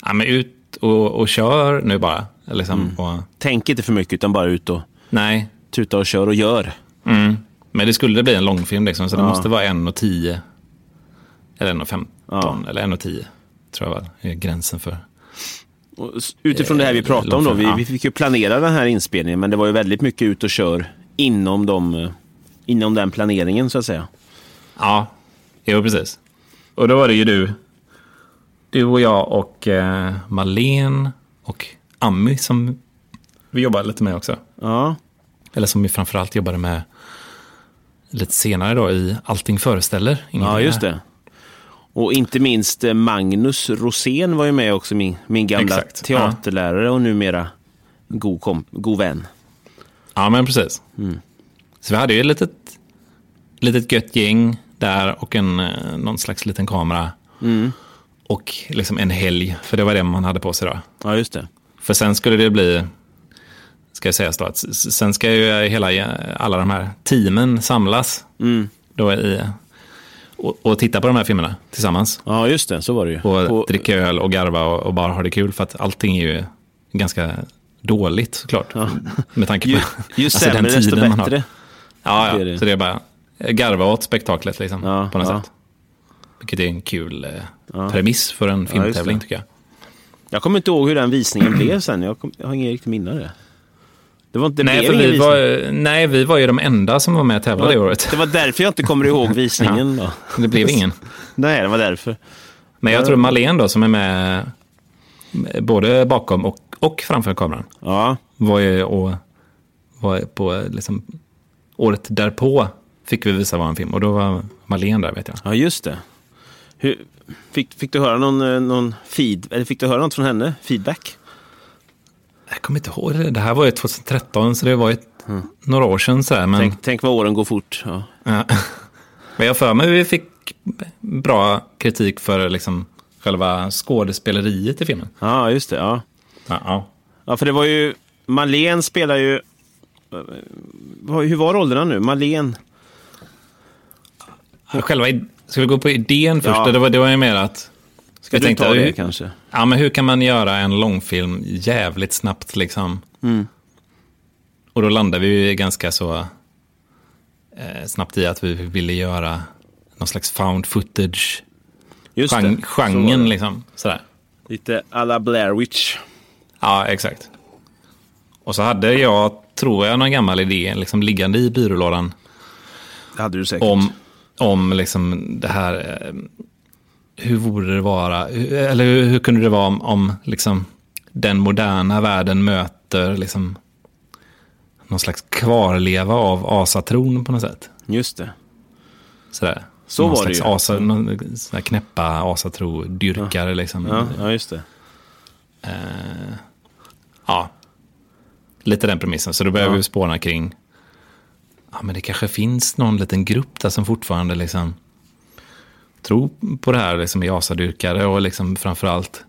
[SPEAKER 2] ja men ut och, och kör nu bara. Liksom, och,
[SPEAKER 1] Tänk inte för mycket utan bara ut och
[SPEAKER 2] nej,
[SPEAKER 1] tuta och kör och gör.
[SPEAKER 2] mm. men det skulle bli en långfilm liksom, så det
[SPEAKER 1] Ja.
[SPEAKER 2] måste vara en och tio. Eller en och femton,
[SPEAKER 1] Ja.
[SPEAKER 2] eller en och tio. Tror jag väl, är gränsen för.
[SPEAKER 1] Och s- utifrån det här vi pratade om då, vi,
[SPEAKER 2] Eh, Ja.
[SPEAKER 1] vi fick ju planera den här inspelningen men det var ju väldigt mycket ut och kör inom, de, eh, inom den planeringen så att säga.
[SPEAKER 2] Ja, jo precis. Och då var det ju du. Du och jag och eh, Malene och Ammy som vi jobbade lite med också.
[SPEAKER 1] Ja,
[SPEAKER 2] Eller som vi framförallt jobbade med lite senare då i Allting föreställer. Ingenting
[SPEAKER 1] ja just
[SPEAKER 2] är.
[SPEAKER 1] det. Och inte minst eh, Magnus Rosén var ju med också, min, min gamla
[SPEAKER 2] Exakt,
[SPEAKER 1] teaterlärare och numera god, kom, god vän.
[SPEAKER 2] Ja, men precis.
[SPEAKER 1] Mm.
[SPEAKER 2] Så vi hade ju ett litet, litet gött gäng där och en, eh, någon slags liten kamera.
[SPEAKER 1] Mm.
[SPEAKER 2] Och liksom en helg, för det var det man hade på sig då.
[SPEAKER 1] Ja, just det.
[SPEAKER 2] För sen skulle det bli, ska jag säga så att s- sen ska ju hela, eh, alla de här teamen samlas
[SPEAKER 1] Mm.
[SPEAKER 2] då i, och, och titta på de här filmerna tillsammans.
[SPEAKER 1] Ja, just det. Så var det ju.
[SPEAKER 2] Och
[SPEAKER 1] På-
[SPEAKER 2] dricka öl och garva och, och bara ha det kul för att allting är ju ganska dåligt såklart. Med tanke på
[SPEAKER 1] ju, ju
[SPEAKER 2] alltså,
[SPEAKER 1] sämre desto
[SPEAKER 2] tiden man har.
[SPEAKER 1] bättre.
[SPEAKER 2] Ja,
[SPEAKER 1] Det är
[SPEAKER 2] ja.
[SPEAKER 1] det.
[SPEAKER 2] så det är bara garva åt spektaklet liksom,
[SPEAKER 1] Ja,
[SPEAKER 2] på något
[SPEAKER 1] ja.
[SPEAKER 2] sätt. Vilket är en kul eh, premiss för en
[SPEAKER 1] det.
[SPEAKER 2] filmtävling tycker jag.
[SPEAKER 1] Jag kommer inte ihåg hur den visningen blev sen. Jag, kom, jag har ingen riktigt minne av det. Det var inte det
[SPEAKER 2] Nej,
[SPEAKER 1] blev
[SPEAKER 2] för
[SPEAKER 1] ingen
[SPEAKER 2] vi
[SPEAKER 1] visning.
[SPEAKER 2] var, nej, vi var ju de enda som var med och tävlade det året.
[SPEAKER 1] Det var därför jag inte kommer ihåg visningen då.
[SPEAKER 2] Det blev ingen.
[SPEAKER 1] Nej, det var därför.
[SPEAKER 2] Men jag tror Malene då, som är med med både bakom och, och framför kameran,
[SPEAKER 1] Ja,
[SPEAKER 2] var ju och, var på liksom, året därpå fick vi visa vår film och då var Malene där vet jag.
[SPEAKER 1] ja just det. Hur, fick, fick du höra någon, eh, någon feed, eller fick du höra något från henne? Feedback?
[SPEAKER 2] Jag kommer inte ihåg det. Det här var ju 2013 så det var ju ett några år sedan. Så här, men,
[SPEAKER 1] Mm. Tänk, tänk vad åren går fort. Ja.
[SPEAKER 2] Ja. men jag för mig vi fick bra kritik för liksom, själva skådespeleriet i filmen.
[SPEAKER 1] ja, just det. Ja.
[SPEAKER 2] Ja, ja.
[SPEAKER 1] ja, för det var ju... Malen spelar ju... Vad- Hur var rollerna nu? Malen.
[SPEAKER 2] Själva, id- ska vi gå på idén först?
[SPEAKER 1] Ja.
[SPEAKER 2] Det, var, det var ju mer att...
[SPEAKER 1] Ska
[SPEAKER 2] jag
[SPEAKER 1] du
[SPEAKER 2] tänkte,
[SPEAKER 1] ta det
[SPEAKER 2] hur-
[SPEAKER 1] kanske?
[SPEAKER 2] Ja, men hur kan man göra en långfilm jävligt snabbt liksom?
[SPEAKER 1] Mm.
[SPEAKER 2] Och då landade vi ju ganska så eh, snabbt i att vi ville göra någon slags found footage.
[SPEAKER 1] Just
[SPEAKER 2] Gen-
[SPEAKER 1] det. Så var
[SPEAKER 2] genren
[SPEAKER 1] det.
[SPEAKER 2] liksom. Sådär.
[SPEAKER 1] Lite à la Blair Witch.
[SPEAKER 2] Ja, exakt. Och så hade jag, tror jag, någon gammal idé liksom liggande i byrålådan
[SPEAKER 1] Det hade du säkert.
[SPEAKER 2] om, om liksom det här, eh, hur vore det vara, hur- eller hur, hur kunde det vara om, om liksom den moderna världen möter liksom någon slags kvarleva av asatron på något sätt.
[SPEAKER 1] Just det.
[SPEAKER 2] Sådär.
[SPEAKER 1] Så
[SPEAKER 2] någon
[SPEAKER 1] var det
[SPEAKER 2] slags
[SPEAKER 1] ju.
[SPEAKER 2] Asa, någon sån här knäppa asatro-dyrkare liksom.
[SPEAKER 1] Ja, ja just det.
[SPEAKER 2] Eh, ja, lite den premissen. Så då börjar
[SPEAKER 1] Ja.
[SPEAKER 2] vi spåna kring, ja men det kanske finns någon liten grupp där som fortfarande liksom tror på det här liksom är asadyrkare och liksom framförallt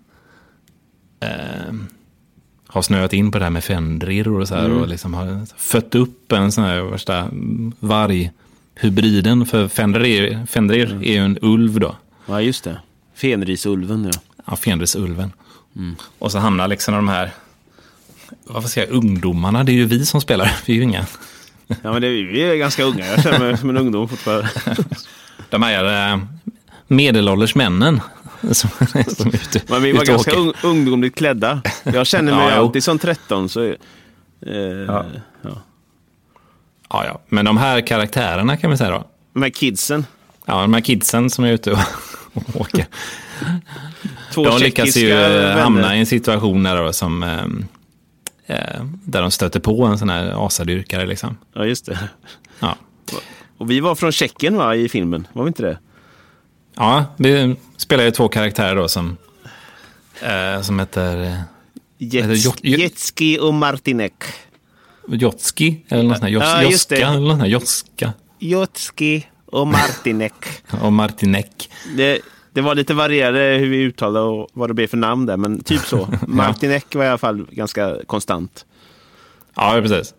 [SPEAKER 2] eh, har snöat in på det här med fendrir och så här och liksom har fött upp en sån här värsta varghybriden för fendrir, fendrir är ju en ulv då.
[SPEAKER 1] Ja, just det. Fenrisulven, ja.
[SPEAKER 2] Ja, Fenrisulven. Och så hamnar liksom de här, varför säger jag ungdomarna? Det är ju vi som spelar, vi är ju inga.
[SPEAKER 1] Ja, men det, vi är ganska unga. Jag känner mig som en ungdom fortfarande.
[SPEAKER 2] De här eh, medelålders männen som, som är ute,
[SPEAKER 1] Men vi var
[SPEAKER 2] ute och
[SPEAKER 1] ganska
[SPEAKER 2] åker.
[SPEAKER 1] un, ungdomligt klädda. Jag känner mig
[SPEAKER 2] Ja, jo.
[SPEAKER 1] alltid som 13. Så, eh, ja.
[SPEAKER 2] Ja, ja. Men de här karaktärerna kan vi säga då.
[SPEAKER 1] De här kidsen.
[SPEAKER 2] Ja, de här kidsen som är ute och, och åker.
[SPEAKER 1] Två
[SPEAKER 2] De lyckas
[SPEAKER 1] tjeckiska
[SPEAKER 2] ju eh,
[SPEAKER 1] vänner.
[SPEAKER 2] hamna i en situation där, då, som, eh, eh, där de stöter på en sån här asadyrkare. Liksom.
[SPEAKER 1] Ja, just det.
[SPEAKER 2] Ja.
[SPEAKER 1] Och vi var från Tjeckien va, i filmen? Var vi inte det?
[SPEAKER 2] Ja, vi spelar ju två karaktärer då som, eh, som heter eh, Eller
[SPEAKER 1] Jets,
[SPEAKER 2] Jot-
[SPEAKER 1] Jetski och Martinek.
[SPEAKER 2] Jotski, eller något sånt här, Jots,
[SPEAKER 1] Ja, just
[SPEAKER 2] Joska,
[SPEAKER 1] det.
[SPEAKER 2] eller något sånt här, Joska
[SPEAKER 1] Jotski och Martinek.
[SPEAKER 2] och Martinek.
[SPEAKER 1] det, det var lite varierade hur vi uttalade och vad det blev för namn där, men typ så. Martinek var i alla fall ganska konstant.
[SPEAKER 2] Ja, precis.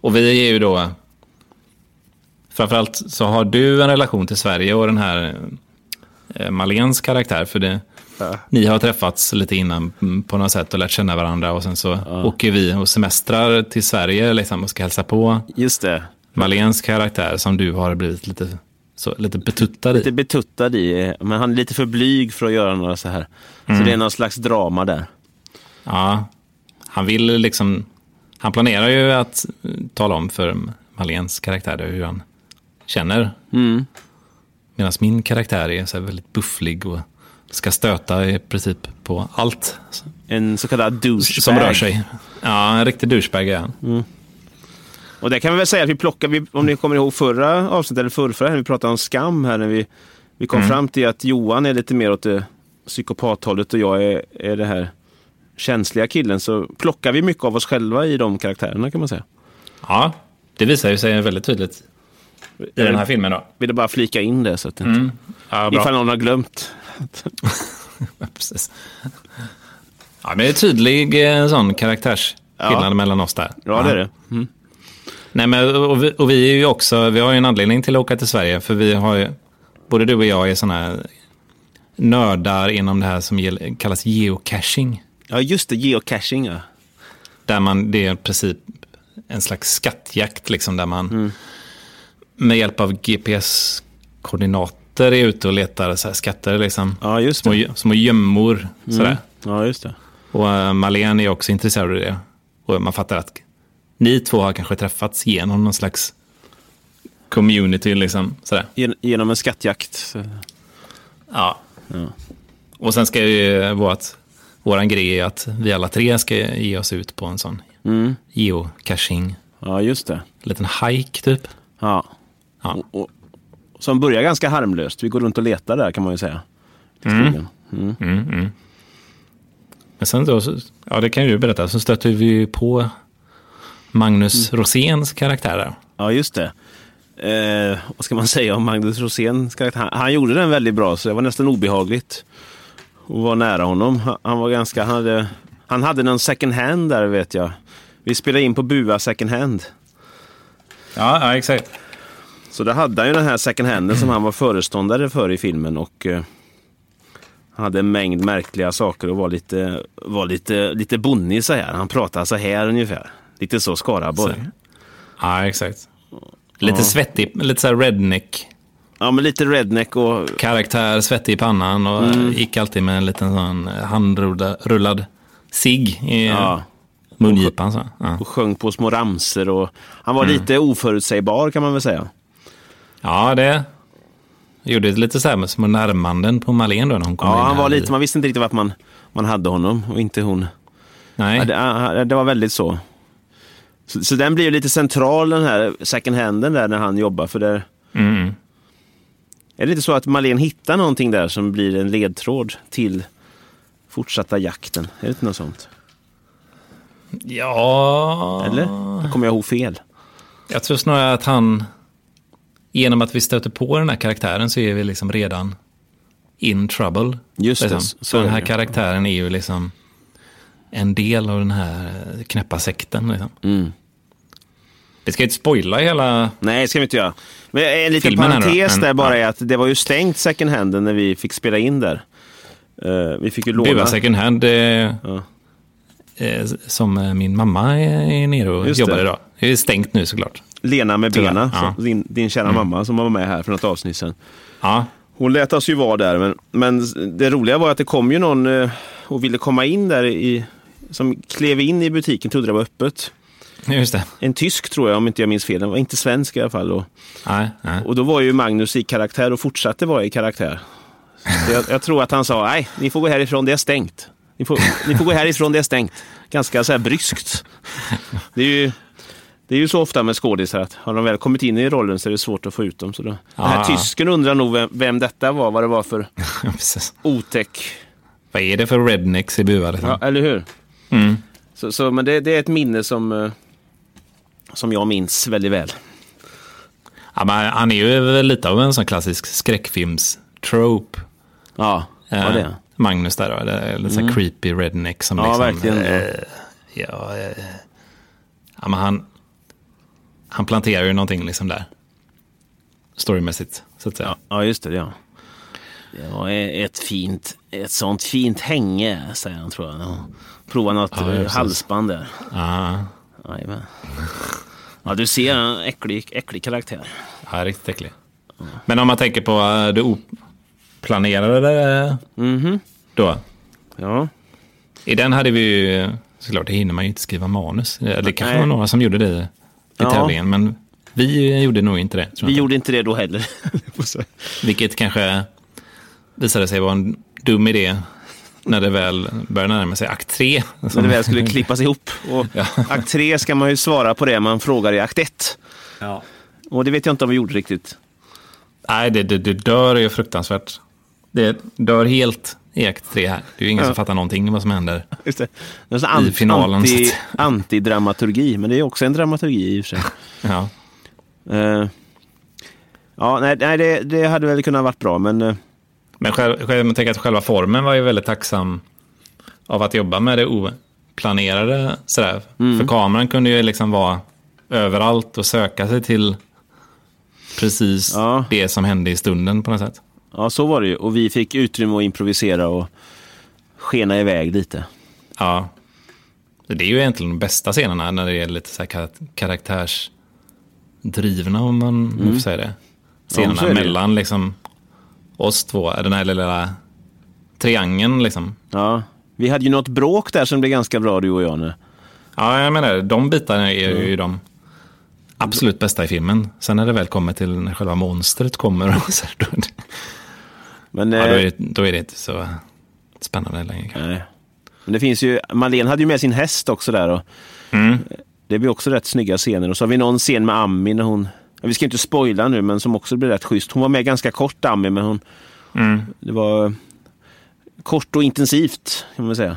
[SPEAKER 2] Och vi är ju då... Framförallt så har du en relation till Sverige och den här eh, Malens karaktär, för det,
[SPEAKER 1] Ja.
[SPEAKER 2] ni har träffats lite innan mm, på något sätt och lärt känna varandra och sen så åker vi och semestrar till Sverige liksom, och ska hälsa på
[SPEAKER 1] Just det.
[SPEAKER 2] Malens karaktär som du har blivit lite, så, lite betuttad i.
[SPEAKER 1] Lite betuttad i, eh, men han är lite för blyg för att göra några så här.
[SPEAKER 2] Mm.
[SPEAKER 1] Så det är någon slags drama där.
[SPEAKER 2] Ja, han vill liksom... Han planerar ju att eh, tala om för Malens karaktär då hur han känner.
[SPEAKER 1] Mm.
[SPEAKER 2] Medan min karaktär är så här väldigt bufflig och ska stöta i princip på allt
[SPEAKER 1] En så kallad douchebag. Mm.
[SPEAKER 2] som rör sig. Ja, en riktig douchebag är han.
[SPEAKER 1] Och där kan vi väl säga att vi plockar, vi- om ni kommer ihåg förra avsnittet eller förrförra, när vi pratade om skam här, när vi, vi
[SPEAKER 2] Mm.
[SPEAKER 1] kom fram till att Johan är lite mer åt det psykopathållet och jag är, är det här känsliga killen, så plockar vi mycket av oss själva i de karaktärerna kan man säga.
[SPEAKER 2] Ja, det visar ju sig väldigt tydligt i den här filmen då.
[SPEAKER 1] Ville bara flika in det så att inte,
[SPEAKER 2] Ja,
[SPEAKER 1] ifall någon har glömt.
[SPEAKER 2] Ja, precis. Ja, men det är en tydlig eh, sån karaktärsskillnad
[SPEAKER 1] Ja.
[SPEAKER 2] mellan oss där.
[SPEAKER 1] Ja, det är det.
[SPEAKER 2] Nej, men, och, vi, och vi är ju också, vi har ju en anledning till att åka till Sverige, för vi har ju, både du och jag är sådana nördar inom det här som ge- kallas geocaching.
[SPEAKER 1] Ja, just det, geocaching ja.
[SPEAKER 2] Där man, det är i princip en slags skattjakt, liksom, där man med hjälp av GPS-koordinater är ute och letar så här, skatter, liksom.
[SPEAKER 1] Ja, just
[SPEAKER 2] Små,
[SPEAKER 1] det.
[SPEAKER 2] gö- små gömmor, sådär.
[SPEAKER 1] Ja, just det.
[SPEAKER 2] Och uh, Malene är också intresserad av det. Och man fattar att ni två har kanske träffats genom någon slags community. Liksom, sådär.
[SPEAKER 1] Gen- Genom en skattjakt. så-
[SPEAKER 2] Ja. Och sen ska ju vårt, våran grej är att vi alla tre ska ge oss ut på en sån geocaching.
[SPEAKER 1] Ja, just det.
[SPEAKER 2] Liten hike typ.
[SPEAKER 1] Ja.
[SPEAKER 2] Ja.
[SPEAKER 1] Och, och, som börjar ganska harmlöst. Vi går runt och letar där kan man ju säga. I skogen.
[SPEAKER 2] Men sen då, så- ja det kan ju du berätta, så stöter vi ju på Magnus Roséns karaktär där.
[SPEAKER 1] Ja, just det. Eh, vad ska man säga om Magnus Roséns karaktär? Han, han gjorde den väldigt bra, så det var nästan obehagligt att vara nära honom. Han, han var ganska... Han hade, han hade någon second hand där, vet jag. Vi spelade in på Bua second hand.
[SPEAKER 2] Ja, ja exakt.
[SPEAKER 1] Så där hade han ju den här second handen som han var föreståndare för i filmen. Och eh, han hade en mängd märkliga saker och var lite, var lite, lite bonnig så här. Han pratade så här ungefär. Lite så Skaraborg.
[SPEAKER 2] Ja, exakt. Lite svettig, lite så här redneck-karaktär,
[SPEAKER 1] Ja, men lite redneck och
[SPEAKER 2] svettig i pannan och
[SPEAKER 1] Mm.
[SPEAKER 2] gick alltid med en liten sån handrullad cigg i
[SPEAKER 1] Ja.
[SPEAKER 2] mungipan. Så. Ja.
[SPEAKER 1] och sjöng på små ramser och han var lite oförutsägbar kan man väl säga.
[SPEAKER 2] ja, det gjorde lite så här med små närmanden på Malén då när hon kom in.
[SPEAKER 1] Ja, han
[SPEAKER 2] här
[SPEAKER 1] var
[SPEAKER 2] i-
[SPEAKER 1] lite, man visste inte riktigt vart man, man hade honom och inte hon.
[SPEAKER 2] Nej.
[SPEAKER 1] Ja, det, ja, det var väldigt så. så. Så den blir ju lite central den här second handen där när han jobbar för där
[SPEAKER 2] Mm.
[SPEAKER 1] Är det inte så att Malin hittar någonting där som blir en ledtråd till fortsatta jakten? Är det inte något sånt?
[SPEAKER 2] Ja,
[SPEAKER 1] Eller?
[SPEAKER 2] Ah.
[SPEAKER 1] Kommer jag ihåg fel?
[SPEAKER 2] jag tror snarare att han, genom att vi stöter på den här karaktären så är vi liksom redan in trouble.
[SPEAKER 1] Just det,
[SPEAKER 2] liksom.
[SPEAKER 1] så
[SPEAKER 2] Så den
[SPEAKER 1] är
[SPEAKER 2] här
[SPEAKER 1] det.
[SPEAKER 2] karaktären är ju liksom en del av den här eh, knäppa sekten. Liksom.
[SPEAKER 1] Mm.
[SPEAKER 2] Vi ska ju inte spoila hela...
[SPEAKER 1] Nej, det ska vi inte göra. Men en liten
[SPEAKER 2] Filmen här då?
[SPEAKER 1] parentes
[SPEAKER 2] Men-
[SPEAKER 1] där bara
[SPEAKER 2] ja.
[SPEAKER 1] är att det var ju stängt second handen när vi fick spela in där. Eh, vi fick ju låna.
[SPEAKER 2] Bua second hand, eh,
[SPEAKER 1] Ja.
[SPEAKER 2] eh, som eh, min mamma är är nere och
[SPEAKER 1] Just det.
[SPEAKER 2] jobbar idag. Det är stängt nu såklart.
[SPEAKER 1] Lena med
[SPEAKER 2] Tyvärr,
[SPEAKER 1] bena,
[SPEAKER 2] ja. Mm.
[SPEAKER 1] så- din, din kära mamma som var med här för något avsnitt sedan.
[SPEAKER 2] Ja,
[SPEAKER 1] Hon lät oss ju vara där, men, men det roliga var att det kom ju någon eh, och ville komma in där i, som klev in i butiken, trodde det var öppet.
[SPEAKER 2] just det.
[SPEAKER 1] En tysk tror jag, om inte jag minns fel. Den var inte svensk i alla fall. Och,
[SPEAKER 2] Nej, nej.
[SPEAKER 1] och då var ju Magnus i karaktär och fortsatte vara i karaktär. Så jag, jag tror att han sa, nej, ni får gå härifrån, det är stängt. Ni får, ni får gå härifrån, det är stängt. Ganska så här bryskt. Det är ju, det är ju så ofta med skådisar att har de väl kommit in i rollen så är det svårt att få ut dem. Så då, den här
[SPEAKER 2] Ja.
[SPEAKER 1] tysken undrar nog vem, vem detta var, vad det var för
[SPEAKER 2] Precis.
[SPEAKER 1] otäck...
[SPEAKER 2] Vad är det för rednecks i Bua? Liksom?
[SPEAKER 1] Ja, eller hur?
[SPEAKER 2] Mm.
[SPEAKER 1] Så, så, men det, det är ett minne som, eh, som jag minns väldigt väl.
[SPEAKER 2] Ja, men han är ju väl lite av en sån klassisk skräckfilms-trope.
[SPEAKER 1] Ja,
[SPEAKER 2] eh,
[SPEAKER 1] ja det är. Mm.
[SPEAKER 2] Magnus där då, det är lite sån här creepy redneck som
[SPEAKER 1] Ja,
[SPEAKER 2] liksom...
[SPEAKER 1] verkligen.
[SPEAKER 2] eh, ja, eh, ja, men han, han planterar ju någonting liksom där. Storymässigt, så att säga.
[SPEAKER 1] Ja, just det. Ja. Ja, ett, fint, ett sånt fint hänge, säger han tror jag. Ja. Prova något
[SPEAKER 2] Ja,
[SPEAKER 1] eh,
[SPEAKER 2] precis.
[SPEAKER 1] halsband där.
[SPEAKER 2] Ja,
[SPEAKER 1] Jajamän. Ja, du ser en äcklig, äcklig karaktär.
[SPEAKER 2] ja riktigt äcklig. Men om man tänker på eh, det oplanerade eh,
[SPEAKER 1] Mhm.
[SPEAKER 2] då.
[SPEAKER 1] Ja,
[SPEAKER 2] I den hade vi ju, såklart det hinner man ju inte skriva manus. Det kanske
[SPEAKER 1] Nej.
[SPEAKER 2] var några som gjorde det i
[SPEAKER 1] Ja.
[SPEAKER 2] tävlingen, men vi gjorde nog inte det. Tror
[SPEAKER 1] vi
[SPEAKER 2] jag.
[SPEAKER 1] gjorde inte det då heller.
[SPEAKER 2] Vilket kanske visade sig vara en dum idé när det väl började närma sig akt tre.
[SPEAKER 1] När det väl skulle klippas ihop. Och
[SPEAKER 2] Ja.
[SPEAKER 1] akt 3 ska man ju svara på det man frågar i akt 1. Och det vet jag inte om vi gjorde riktigt.
[SPEAKER 2] Nej, det, det, det dör är ju fruktansvärt. Det dör helt i akt tre här. Det är ju ingen som fattar någonting vad som händer.
[SPEAKER 1] Just det. Det är en sån an-
[SPEAKER 2] I finalen, så att
[SPEAKER 1] Anti,
[SPEAKER 2] säga.
[SPEAKER 1] antidramaturgi, men det är också en dramaturgi i och för sig.
[SPEAKER 2] Ja.
[SPEAKER 1] Eh, ja, nej, nej det, det hade väl kunnat varit bra, men eh,
[SPEAKER 2] Men själv, själv, jag tänker att själva formen var ju väldigt tacksam av att jobba med det oplanerade. Sådär.
[SPEAKER 1] Mm.
[SPEAKER 2] För kameran kunde ju liksom vara överallt och söka sig till precis
[SPEAKER 1] Ja.
[SPEAKER 2] det som hände i stunden på något sätt.
[SPEAKER 1] ja, så var det ju. Och vi fick utrymme att improvisera och skena iväg lite.
[SPEAKER 2] Ja. Det är ju egentligen de bästa scenerna när det är lite så här kar- karaktärsdrivna om man om man får säga det.
[SPEAKER 1] men
[SPEAKER 2] Scenerna
[SPEAKER 1] Mm. så är det ju.
[SPEAKER 2] mellan liksom oss två, den här lilla triangeln liksom.
[SPEAKER 1] Ja, vi hade ju något bråk där som blev ganska bra, du och jag nu.
[SPEAKER 2] Ja, jag menar det. De bitarna är ju de absolut bästa i filmen. Sen när det väl kommer till när själva monstret kommer, och så, här, då,
[SPEAKER 1] Men,
[SPEAKER 2] ja,
[SPEAKER 1] eh,
[SPEAKER 2] då, är det, då är det inte så spännande längre. kanske.
[SPEAKER 1] nej. men det finns ju, Malin hade ju med sin häst också där. Och
[SPEAKER 2] Mm.
[SPEAKER 1] Det blir också rätt snygga scener. Och så har vi någon scen med Ami när hon, ja, vi ska ju inte spoila nu, men som också blir rätt schysst. Hon var med ganska kort, Ami, men hon,
[SPEAKER 2] Mm.
[SPEAKER 1] det var eh, kort och intensivt, kan man väl säga.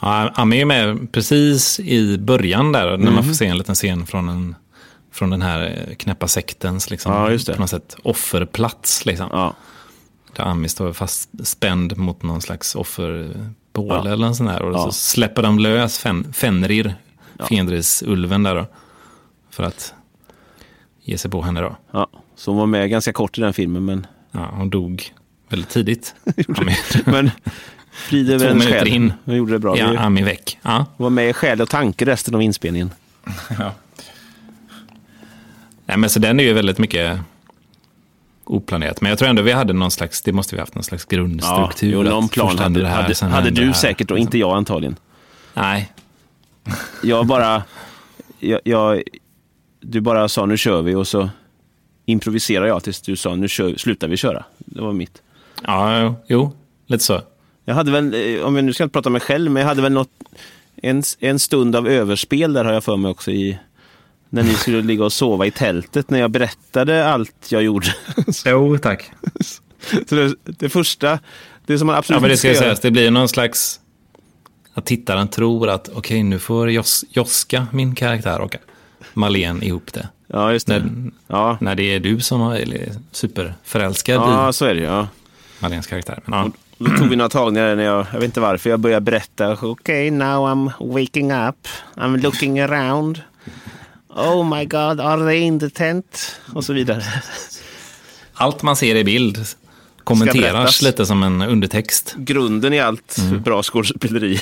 [SPEAKER 2] Ja, han är ju med precis i början där, när
[SPEAKER 1] Mhm.
[SPEAKER 2] man får se en liten scen från, en, från den här eh, knäppa sektens liksom,
[SPEAKER 1] Ja, just det.
[SPEAKER 2] på något sätt, offerplats. Liksom,
[SPEAKER 1] Ja.
[SPEAKER 2] Där Ami står fastspänd mot någon slags offerbål
[SPEAKER 1] Ja.
[SPEAKER 2] eller en sån där. Och
[SPEAKER 1] Ja.
[SPEAKER 2] så släpper de lös fen, Fenrir, Fenrisulven där då. För att ge sig på henne då.
[SPEAKER 1] Ja. Så hon var med ganska kort i den filmen, men,
[SPEAKER 2] Ja, hon dog väldigt tidigt. Ami,
[SPEAKER 1] men frid över
[SPEAKER 2] Två
[SPEAKER 1] hennes
[SPEAKER 2] minuter
[SPEAKER 1] själ.
[SPEAKER 2] in.
[SPEAKER 1] Hon gjorde det bra.
[SPEAKER 2] ja,
[SPEAKER 1] Ja.
[SPEAKER 2] Ami väck. Ja.
[SPEAKER 1] Hon var med i själ och tanke resten av inspelningen.
[SPEAKER 2] Nej, men så den är ju väldigt mycket oplanerat. Men jag tror ändå vi hade någon slags, det måste vi haft någon slags grundstruktur.
[SPEAKER 1] jo,
[SPEAKER 2] att
[SPEAKER 1] någon plan
[SPEAKER 2] först
[SPEAKER 1] hade,
[SPEAKER 2] det här,
[SPEAKER 1] hade,
[SPEAKER 2] sen
[SPEAKER 1] hade
[SPEAKER 2] hände
[SPEAKER 1] du
[SPEAKER 2] det här.
[SPEAKER 1] säkert då, inte jag antagligen.
[SPEAKER 2] Nej,
[SPEAKER 1] Jag bara... Jag, jag, du bara sa nu kör vi och så improviserade jag tills du sa nu kör, slutar vi köra. Det var mitt.
[SPEAKER 2] ja, jo, jo, lite så.
[SPEAKER 1] Jag hade väl, eh, om jag nu ska inte prata om mig själv, men jag hade väl något, en, en stund av överspel där har jag för mig också i när ni skulle ligga och sova i tältet när jag berättade allt jag gjorde.
[SPEAKER 2] Jo, tack.
[SPEAKER 1] Så det, det första, det som man absolut
[SPEAKER 2] Ja, men det
[SPEAKER 1] inte
[SPEAKER 2] ska
[SPEAKER 1] göra-
[SPEAKER 2] sägas, det blir någon slags att tittaren tror att okej, nu får Jos, Joska, min karaktär, och Malene ihop det.
[SPEAKER 1] Ja, just det.
[SPEAKER 2] När-
[SPEAKER 1] ja.
[SPEAKER 2] När det är du som har- är superförälskad
[SPEAKER 1] ja,
[SPEAKER 2] i
[SPEAKER 1] så är det ju. Ja.
[SPEAKER 2] Malenes karaktär. Men, ja.
[SPEAKER 1] Och Då tog vi några tagningar där när jag, jag vet inte varför, jag började berätta. Okej, okay, now I'm waking up. I'm looking around. Oh my god, are they in the tent? Och så vidare.
[SPEAKER 2] Allt man ser i bild kommenteras
[SPEAKER 1] berättas.
[SPEAKER 2] lite som en undertext.
[SPEAKER 1] Grunden i allt
[SPEAKER 2] Mm.
[SPEAKER 1] bra skådespeleri.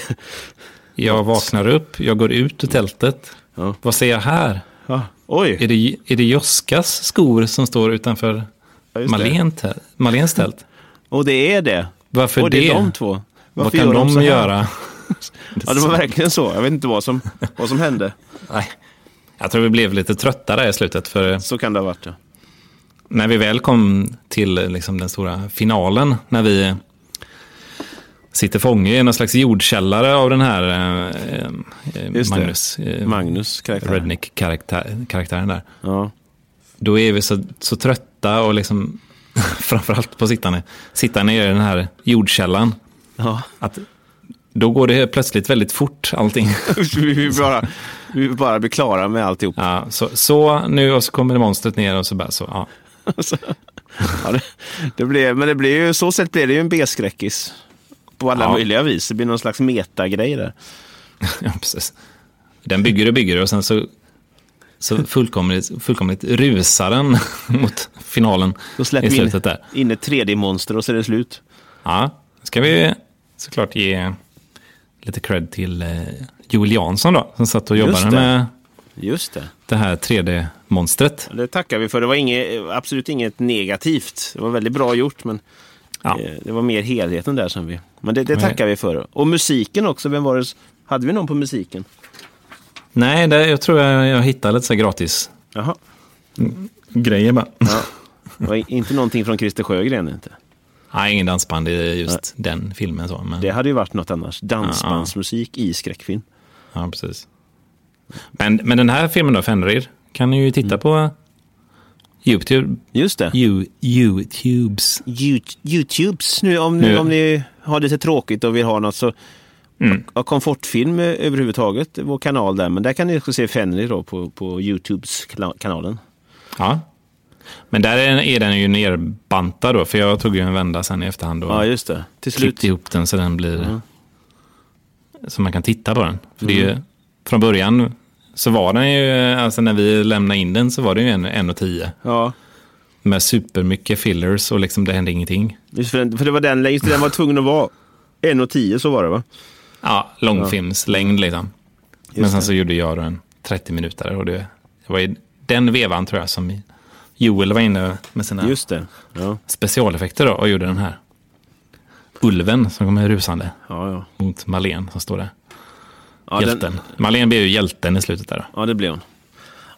[SPEAKER 2] Jag vaknar upp, jag går ut ur tältet.
[SPEAKER 1] Ja.
[SPEAKER 2] Vad ser jag här?
[SPEAKER 1] Ja. Oj!
[SPEAKER 2] Är det, är det Joskas skor som står utanför
[SPEAKER 1] Ja, just det.
[SPEAKER 2] Malén tä- Maléns tält?
[SPEAKER 1] Och det är det.
[SPEAKER 2] Varför
[SPEAKER 1] och det?
[SPEAKER 2] det?
[SPEAKER 1] är de två.
[SPEAKER 2] Vad
[SPEAKER 1] Varför
[SPEAKER 2] kan
[SPEAKER 1] gör
[SPEAKER 2] de,
[SPEAKER 1] så här?
[SPEAKER 2] göra?
[SPEAKER 1] Ja, det var verkligen så. Jag vet inte vad som, vad som hände.
[SPEAKER 2] Nej. Jag tror vi blev lite trötta där i slutet, för
[SPEAKER 1] Så kan det ha varit. Ja.
[SPEAKER 2] när vi väl kom till liksom, den stora finalen, när vi sitter fånge i någon slags jordkällare av den här eh, eh,
[SPEAKER 1] Just det.
[SPEAKER 2] Magnus, eh,
[SPEAKER 1] Magnus karaktär.
[SPEAKER 2] Rednick-karaktären där.
[SPEAKER 1] Ja.
[SPEAKER 2] då är vi så, så trötta och liksom framförallt på sittande, sitta ner i den här jordkällan.
[SPEAKER 1] ja.
[SPEAKER 2] Att då går det helt plötsligt väldigt fort allting.
[SPEAKER 1] vi, vill bara, vi vill bara bli klara med alltihop.
[SPEAKER 2] Ja, så, så nu och så kommer det monstret ner och så bara så. Ja.
[SPEAKER 1] Alltså, ja, det, det blir, men det blir ju, så sätt blir det ju en B-skräckis. På alla
[SPEAKER 2] Ja.
[SPEAKER 1] möjliga vis. Det blir någon slags metagrej där.
[SPEAKER 2] ja, precis. Den bygger och bygger och sen så, så fullkomligt, fullkomligt rusar den mot finalen
[SPEAKER 1] Då släpper
[SPEAKER 2] i
[SPEAKER 1] vi in,
[SPEAKER 2] slutet där.
[SPEAKER 1] in ett 3D-monster och så är det slut.
[SPEAKER 2] Ja, ska vi såklart ge lite cred till eh, Joel Jansson då, som satt och jobbade
[SPEAKER 1] det.
[SPEAKER 2] med
[SPEAKER 1] Just det.
[SPEAKER 2] det här 3D-monstret.
[SPEAKER 1] Det tackar vi för. Det var inget, absolut inget negativt. Det var väldigt bra gjort, men
[SPEAKER 2] Ja.
[SPEAKER 1] eh, det var mer helheten där som vi... Men det, det
[SPEAKER 2] Men-
[SPEAKER 1] tackar vi för. Och musiken också. Vem var det? s- Hade vi någon på musiken?
[SPEAKER 2] Nej, det, jag tror jag, jag hittade lite så här gratis
[SPEAKER 1] Jaha.
[SPEAKER 2] grejer bara.
[SPEAKER 1] Ja. Det var i- inte någonting från Christer Sjögren inte.
[SPEAKER 2] Nej, ingen dansband i just den filmen. Så, men,
[SPEAKER 1] Det hade ju varit något annars. Dansbandsmusik i skräckfilm.
[SPEAKER 2] Ja, precis. Men, men den här filmen då, Fenrir, kan ni ju titta
[SPEAKER 1] Mm.
[SPEAKER 2] på YouTube.
[SPEAKER 1] Just det.
[SPEAKER 2] You, YouTubes.
[SPEAKER 1] Yout- Youtubes nu om,
[SPEAKER 2] Nu.
[SPEAKER 1] om ni har lite tråkigt och vill ha något så ja, komfortfilm eh, överhuvudtaget, vår kanal där. Men där kan ni också se Fenrir då på, på Youtubes-kanalen.
[SPEAKER 2] Ja. Men där är, är den ju nerbantad då, för jag tog ju en vända sen i efterhand och
[SPEAKER 1] Ja, just det. Till slut.
[SPEAKER 2] klippte ihop den så den blir... Så man kan titta på den. För det är ju, från början så var den ju, alltså när vi lämnade in den så var det ju en, en och tio.
[SPEAKER 1] Ja,
[SPEAKER 2] med supermycket fillers och liksom det hände ingenting.
[SPEAKER 1] just för, den, för det var den, just det, den var tvungen att vara. 1.10 så var det va?
[SPEAKER 2] Ja, långfilmslängd liksom. Men
[SPEAKER 1] Just
[SPEAKER 2] sen
[SPEAKER 1] det.
[SPEAKER 2] så gjorde jag då en 30 minuter och det, det var i den vevan tror jag som Joel var inne med sina
[SPEAKER 1] Just det. Ja,
[SPEAKER 2] specialeffekter då och gjorde den här. Ulven som kommer rusande
[SPEAKER 1] ja, ja.
[SPEAKER 2] mot Malen som står där.
[SPEAKER 1] ja
[SPEAKER 2] hjälten.
[SPEAKER 1] Den,
[SPEAKER 2] Malen blir ju hjälten i slutet där. då.
[SPEAKER 1] ja, det blev hon.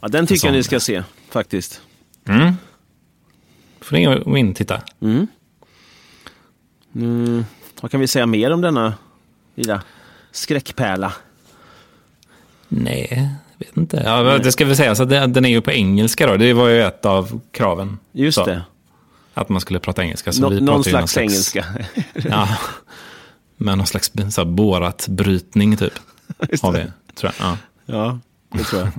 [SPEAKER 1] Ja, den tycker jag ni ska se faktiskt.
[SPEAKER 2] Mm. Får ni gå in och titta.
[SPEAKER 1] Mm, Vad kan vi säga mer om denna lilla skräckpärla?
[SPEAKER 2] Nej, jag vet inte. Ja, det ska väl sägas att den den är ju på engelska då. Det var ju ett av kraven.
[SPEAKER 1] Just
[SPEAKER 2] Så.
[SPEAKER 1] det.
[SPEAKER 2] Att man skulle prata engelska. Så
[SPEAKER 1] Nå-
[SPEAKER 2] vi pratar
[SPEAKER 1] någon
[SPEAKER 2] ju
[SPEAKER 1] slags engelska.
[SPEAKER 2] Ja. Med någon slags så här, Borat-brytning typ.
[SPEAKER 1] Just
[SPEAKER 2] Har
[SPEAKER 1] det.
[SPEAKER 2] vi, tror jag. Ja.
[SPEAKER 1] Ja, det tror jag.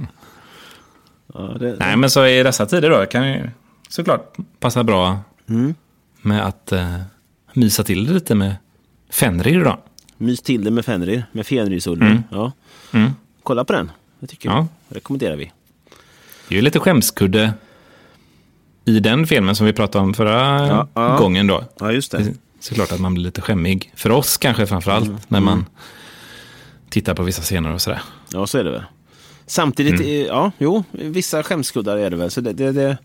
[SPEAKER 1] Ja, det,
[SPEAKER 2] Nej, men så i dessa tider då kan ju såklart passa bra med att eh, mysa till det lite med Fenrir då.
[SPEAKER 1] Mys till det med Fenrir, med Fenrisulven. Ja.
[SPEAKER 2] Mm.
[SPEAKER 1] Kolla på den, det tycker
[SPEAKER 2] Ja.
[SPEAKER 1] vi. rekommenderar vi.
[SPEAKER 2] Det är ju lite skämskudde i den filmen som vi pratade om förra
[SPEAKER 1] Ja, ja.
[SPEAKER 2] gången då.
[SPEAKER 1] Ja, just
[SPEAKER 2] Det är såklart att man blir lite skämmig. För oss kanske framför
[SPEAKER 1] Mm.
[SPEAKER 2] allt när man tittar på vissa scener och sådär.
[SPEAKER 1] Ja, så är det väl. Samtidigt,
[SPEAKER 2] Mm.
[SPEAKER 1] eh, ja, jo, vissa skämskuddar är det väl. Så det, det, det,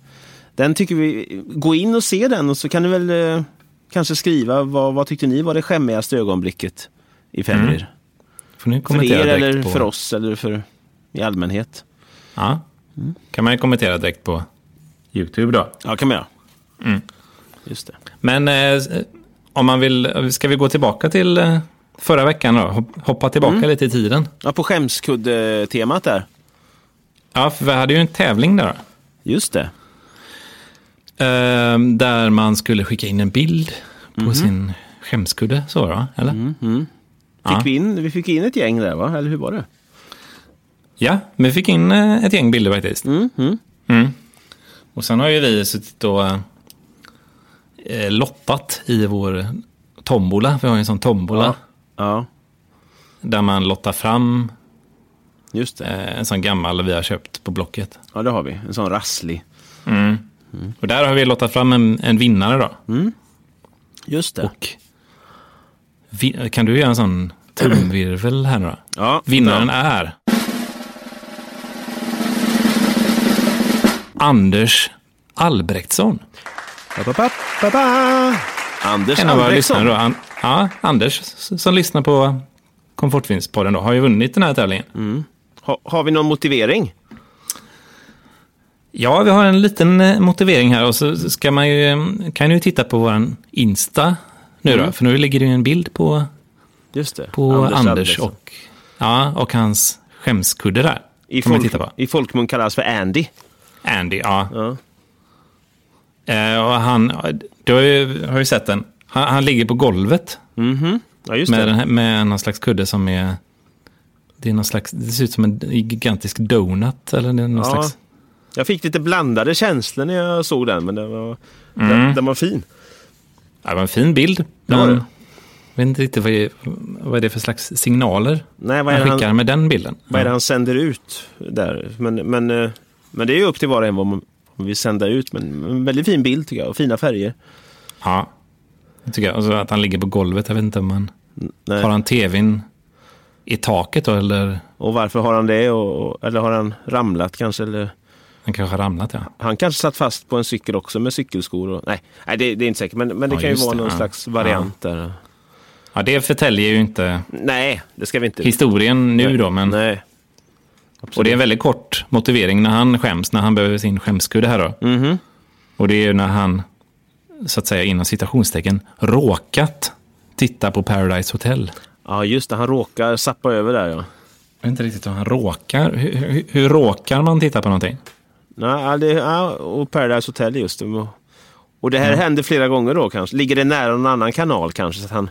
[SPEAKER 1] den tycker vi, gå in och se den och så kan ni väl eh, kanske skriva vad, vad tyckte ni var det skämmigaste ögonblicket i Fenrir?
[SPEAKER 2] Får ni
[SPEAKER 1] För
[SPEAKER 2] Mm. kommentera
[SPEAKER 1] er
[SPEAKER 2] direkt
[SPEAKER 1] eller
[SPEAKER 2] på...
[SPEAKER 1] för oss eller för i allmänhet?
[SPEAKER 2] Ja.
[SPEAKER 1] Mm.
[SPEAKER 2] Kan man ju kommentera direkt på YouTube då.
[SPEAKER 1] Ja, kan man göra.
[SPEAKER 2] Mm.
[SPEAKER 1] Just det.
[SPEAKER 2] Men eh, om man vill, ska vi gå tillbaka till eh, förra veckan då? Hop- Hoppa tillbaka lite i tiden.
[SPEAKER 1] Ja, på skämskuddetemat där.
[SPEAKER 2] Ja, för vi hade ju en tävling där.
[SPEAKER 1] Just det.
[SPEAKER 2] Eh, där man skulle skicka in en bild på sin skämskudde. Så va? Eller?
[SPEAKER 1] Fick
[SPEAKER 2] Ja.
[SPEAKER 1] vi, in, vi fick in ett gäng där, va? Eller hur var det?
[SPEAKER 2] Ja, men vi fick in eh, ett gäng bilder faktiskt. Mm. Och sen har ju vi suttit och eh, lottat i vår tombola. Vi har ju en sån tombola
[SPEAKER 1] Ja,
[SPEAKER 2] där man lottar fram
[SPEAKER 1] just det.
[SPEAKER 2] eh, en sån gammal vi har köpt på Blocket.
[SPEAKER 1] Ja, det har vi. En sån rasslig.
[SPEAKER 2] Och där har vi lottat fram en, en vinnare då.
[SPEAKER 1] Just det.
[SPEAKER 2] Och vi, kan du göra en sån trumvirvel här nu då?
[SPEAKER 1] ja,
[SPEAKER 2] Vinnaren är... Anders Albrektsson.
[SPEAKER 1] Pa, pa, pa, pa, pa. Anders
[SPEAKER 2] En av våra
[SPEAKER 1] Albrektsson.
[SPEAKER 2] lyssnare då, an, ja, Anders, s- som lyssnar på Komfortvinstpodden då, har ju vunnit den här tävlingen.
[SPEAKER 1] Mm. Ha, har vi någon motivering?
[SPEAKER 2] Ja, vi har en liten eh, motivering här och så ska man ju, eh, kan ju titta på våran Insta nu
[SPEAKER 1] Mm.
[SPEAKER 2] då, för nu ligger det ju en bild på,
[SPEAKER 1] Just det.
[SPEAKER 2] på Anders,
[SPEAKER 1] Albrektsson.
[SPEAKER 2] och, ja, och hans skämskudde där.
[SPEAKER 1] I,
[SPEAKER 2] kan man
[SPEAKER 1] folk,
[SPEAKER 2] titta på.
[SPEAKER 1] I folkmun kallas för Andy.
[SPEAKER 2] Andy, ja.
[SPEAKER 1] Ja.
[SPEAKER 2] Eh, och han, du har ju, har ju sett den, han, han ligger på golvet
[SPEAKER 1] Ja, just
[SPEAKER 2] med,
[SPEAKER 1] det.
[SPEAKER 2] den här, med någon slags kudde som är... Det, är någon slags, det ser ut som en gigantisk donut. Eller det är någon
[SPEAKER 1] Ja.
[SPEAKER 2] slags,
[SPEAKER 1] Jag fick lite blandade känslor när jag såg den, men den var,
[SPEAKER 2] Mm.
[SPEAKER 1] den, den var fin.
[SPEAKER 2] ja, det var en fin bild.
[SPEAKER 1] Det var
[SPEAKER 2] Men
[SPEAKER 1] det.
[SPEAKER 2] jag vet inte riktigt vad, det- vad är det för slags signaler
[SPEAKER 1] Nej, vad är,
[SPEAKER 2] han
[SPEAKER 1] det han,
[SPEAKER 2] skickar med den bilden.
[SPEAKER 1] vad är det han sänder ut där? Men, men, eh, men det är ju upp till var och en vad man vad vi vill sända ut. Men en väldigt fin bild tycker jag, och fina färger.
[SPEAKER 2] Ja, det tycker jag. Och så att han ligger på golvet. Jag vet inte om man...
[SPEAKER 1] Nej.
[SPEAKER 2] Har han tvn i taket då? Eller
[SPEAKER 1] Och varför har han det? Och, och, eller har han ramlat kanske? Eller,
[SPEAKER 2] han kanske har ramlat, ja.
[SPEAKER 1] han kanske satt fast på en cykel också med cykelskor. Och, nej, nej det, det är inte säkert. Men, men det
[SPEAKER 2] Ja,
[SPEAKER 1] kan ju
[SPEAKER 2] just
[SPEAKER 1] vara
[SPEAKER 2] det,
[SPEAKER 1] någon
[SPEAKER 2] ja.
[SPEAKER 1] slags variant där.
[SPEAKER 2] Ja, det förtäljer ju inte
[SPEAKER 1] Nej, det ska vi inte.
[SPEAKER 2] historien nu då, men...
[SPEAKER 1] Nej.
[SPEAKER 2] Och det är en väldigt kort motivering när han skäms, när han behöver sin skämskudde här då.
[SPEAKER 1] Mm-hmm.
[SPEAKER 2] Och det är ju när han, så att säga inom citationstecken, råkat titta på Paradise Hotel.
[SPEAKER 1] Ja, just det. Han råkar sappa över där ja.
[SPEAKER 2] Jag vet inte riktigt hur han råkar. Hur, hur, hur råkar man titta på någonting?
[SPEAKER 1] Nej, ja, det, ja, och Paradise Hotel just det. Och- Och det här
[SPEAKER 2] Mm.
[SPEAKER 1] händer flera gånger då kanske. Ligger det nära någon annan kanal kanske så att han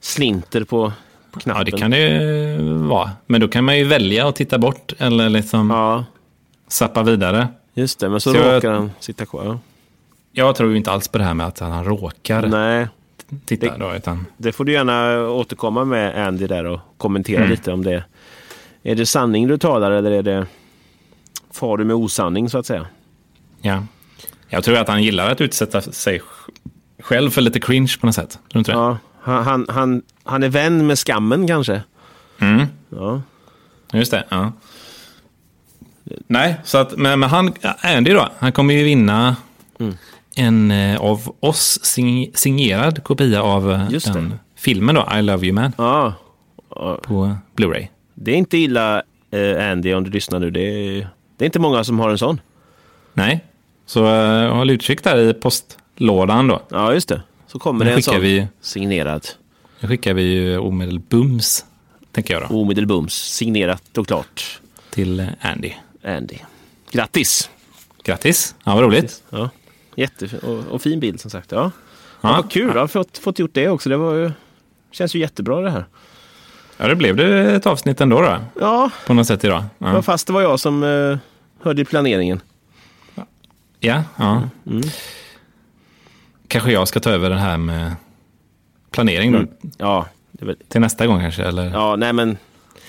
[SPEAKER 1] slinter på, på knappen?
[SPEAKER 2] Ja, det kan det ju vara. Men då kan man ju välja att titta bort eller liksom
[SPEAKER 1] Ja,
[SPEAKER 2] zappa vidare.
[SPEAKER 1] just det. Men så,
[SPEAKER 2] Så jag-
[SPEAKER 1] råkar han sitta kvar. Ja.
[SPEAKER 2] Jag tror ju inte alls på det här med att han råkar
[SPEAKER 1] Nej,
[SPEAKER 2] titta då, utan
[SPEAKER 1] det får du gärna återkomma med Andy där och kommentera
[SPEAKER 2] Mm.
[SPEAKER 1] lite om det. Är det sanning du talar eller är det far du med osanning så att säga?
[SPEAKER 2] ja. Jag tror att han gillar att utsätta sig sj- själv för lite cringe på något sätt. Tror du inte det?
[SPEAKER 1] Ja, han, han, han, han är vän med skammen kanske?
[SPEAKER 2] Mm.
[SPEAKER 1] Ja.
[SPEAKER 2] Just det, ja. Nej, så att, men, men han, Andy då, han kommer ju vinna
[SPEAKER 1] Mm.
[SPEAKER 2] en eh, av oss sign- signerad kopia av eh,
[SPEAKER 1] Just
[SPEAKER 2] den filmen då, I Love You Man,
[SPEAKER 1] ja,
[SPEAKER 2] på Blu-ray.
[SPEAKER 1] det är inte illa eh, Andy om du lyssnar nu. Det är, det är inte många som har en sån.
[SPEAKER 2] Nej, så eh, håll utkik där i postlådan då.
[SPEAKER 1] Ja, just det. Så kommer det
[SPEAKER 2] Nu
[SPEAKER 1] en
[SPEAKER 2] skickar
[SPEAKER 1] sån
[SPEAKER 2] vi,
[SPEAKER 1] signerad.
[SPEAKER 2] nu skickar vi ju omedelbums, tänker jag
[SPEAKER 1] Oh.
[SPEAKER 2] då,
[SPEAKER 1] Omedelbums. Signerat och klart.
[SPEAKER 2] till eh, Andy.
[SPEAKER 1] Andy. Grattis!
[SPEAKER 2] Grattis, ja, vad roligt.
[SPEAKER 1] Ja. Jättefin och, och fin bild som sagt. Ja. Ja,
[SPEAKER 2] Ja.
[SPEAKER 1] vad kul, jag har fått, fått gjort det också. Det var ju... Känns ju jättebra det här.
[SPEAKER 2] Ja, det blev det ett avsnitt ändå då.
[SPEAKER 1] Ja,
[SPEAKER 2] På något sätt idag.
[SPEAKER 1] ja.
[SPEAKER 2] Ja,
[SPEAKER 1] fast det var jag som eh, hörde i planeringen.
[SPEAKER 2] ja. ja.
[SPEAKER 1] Mm.
[SPEAKER 2] Kanske jag ska ta över det här med planering då.
[SPEAKER 1] Mm. Ja, det är väl,
[SPEAKER 2] Till nästa gång kanske. Eller?
[SPEAKER 1] ja nej men...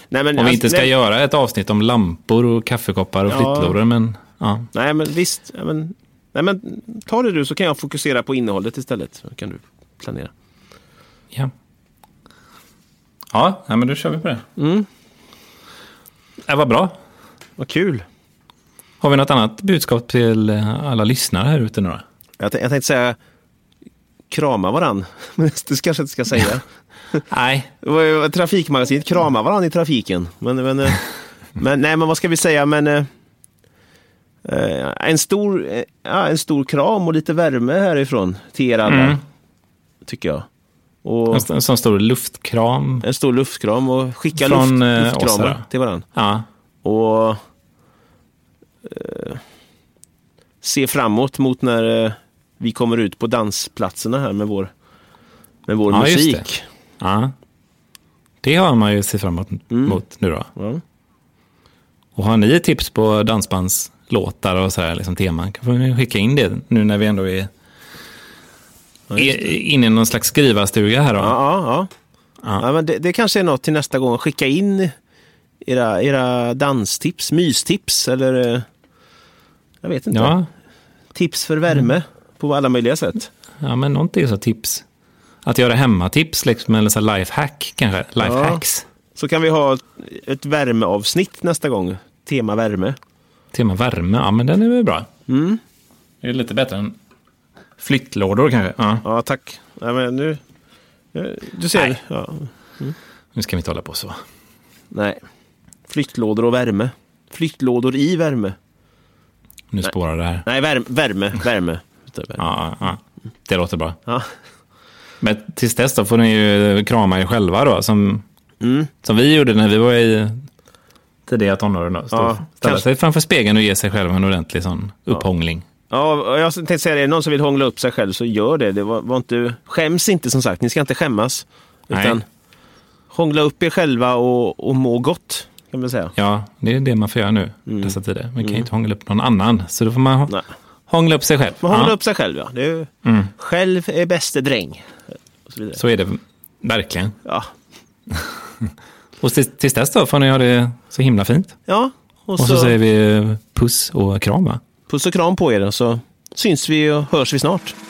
[SPEAKER 1] Nej, men
[SPEAKER 2] Om vi
[SPEAKER 1] alltså,
[SPEAKER 2] inte ska
[SPEAKER 1] nej,
[SPEAKER 2] göra ett avsnitt om lampor och kaffekoppar och
[SPEAKER 1] Ja.
[SPEAKER 2] flyttlådor. Men, ja.
[SPEAKER 1] nej men visst. Ja, men, nej men ta det du så kan jag fokusera på innehållet istället. Så kan du planera.
[SPEAKER 2] Ja. Ja, nej, men då kör vi på det.
[SPEAKER 1] Mm.
[SPEAKER 2] Det var bra.
[SPEAKER 1] Vad kul.
[SPEAKER 2] Har vi något annat budskap till eh, alla lyssnare här ute nu då?
[SPEAKER 1] Jag, tän- jag tänkte säga krama varann. Men det kanske jag inte ska säga.
[SPEAKER 2] Nej.
[SPEAKER 1] Det var ju Trafikmagasinet krama varann i trafiken. Men, men, eh, men, nej, men vad ska vi säga? Men, eh, eh, en, stor, eh, ja, en stor kram och lite värme härifrån till er alla,
[SPEAKER 2] Mm.
[SPEAKER 1] tycker jag. Och
[SPEAKER 2] En, en sån stor luftkram.
[SPEAKER 1] en stor luftkram och skicka
[SPEAKER 2] Från, eh,
[SPEAKER 1] luft,
[SPEAKER 2] oss här
[SPEAKER 1] luftkramar
[SPEAKER 2] då.
[SPEAKER 1] till varandra.
[SPEAKER 2] Ja.
[SPEAKER 1] Och eh, se framåt mot när eh, vi kommer ut på dansplatserna här med vår, med vår
[SPEAKER 2] Ja, just det.
[SPEAKER 1] musik.
[SPEAKER 2] ja. Det har man ju sett fram emot
[SPEAKER 1] Mm.
[SPEAKER 2] mot nu då.
[SPEAKER 1] Ja.
[SPEAKER 2] Och har ni tips på dansbandslåtar och så här, liksom teman, kan får ni skicka in det nu när vi ändå är är inne i någon slags skrivarstuga här då.
[SPEAKER 1] Ja, ja, ja.
[SPEAKER 2] Ja.
[SPEAKER 1] ja men det, det kanske är något till nästa gång. Skicka in era, era danstips, mystips eller... eh, Jag vet inte.
[SPEAKER 2] Ja,
[SPEAKER 1] Tips för värme på alla möjliga sätt.
[SPEAKER 2] ja men någonting så tips. Att göra hemmatips, liksom, eller så här lifehack kanske. Lifehacks.
[SPEAKER 1] Så kan vi ha ett, ett värmeavsnitt nästa gång. Tema värme.
[SPEAKER 2] Tema värme, ja men den är väl bra.
[SPEAKER 1] Mm.
[SPEAKER 2] Det är lite bättre än flyttlådor kanske. Ja.
[SPEAKER 1] Ja, tack. Ja, men nu... nu- Du ser.
[SPEAKER 2] Nej.
[SPEAKER 1] Ja.
[SPEAKER 2] Nu ska vi inte hålla på så.
[SPEAKER 1] Nej. Flyttlådor och värme. Flyttlådor i värme.
[SPEAKER 2] Nu spårar det här.
[SPEAKER 1] Nej, värme. Värme. värme. Utav värme.
[SPEAKER 2] Ja, ja, ja. Det låter bra.
[SPEAKER 1] Ja.
[SPEAKER 2] Men tills dess då får ni ju krama er själva då, som,
[SPEAKER 1] Mm.
[SPEAKER 2] som vi gjorde när vi var i tidiga tonåren. Då. Stå,
[SPEAKER 1] Ja,
[SPEAKER 2] ställa
[SPEAKER 1] kanske.
[SPEAKER 2] sig framför spegeln och ge sig själv en ordentlig sån upphångling.
[SPEAKER 1] Ja, och jag tänkte säga det, är det någon som vill hångla upp sig själv så gör det. det var, var inte, skäms inte som sagt, ni ska inte skämmas.
[SPEAKER 2] Nej.
[SPEAKER 1] Utan hångla upp er själva och, och må gott, kan man säga.
[SPEAKER 2] Ja, det är det man får göra nu dessa tider. Man kan ju inte hångla upp någon annan, så då får man hå-
[SPEAKER 1] Mm. Nej.
[SPEAKER 2] hångla upp sig själv.
[SPEAKER 1] Man hångla
[SPEAKER 2] Ja, Mm.
[SPEAKER 1] upp sig själv, ja. Det är, ju- Själv är bäste dräng. Och så vidare.
[SPEAKER 2] Så är det verkligen.
[SPEAKER 1] Ja.
[SPEAKER 2] Och tills, tills dess då får ni ha det så himla fint.
[SPEAKER 1] ja, och
[SPEAKER 2] Och så,
[SPEAKER 1] så,
[SPEAKER 2] säger vi eh, puss och kram va?
[SPEAKER 1] puss och kram på er så syns vi och hörs vi snart.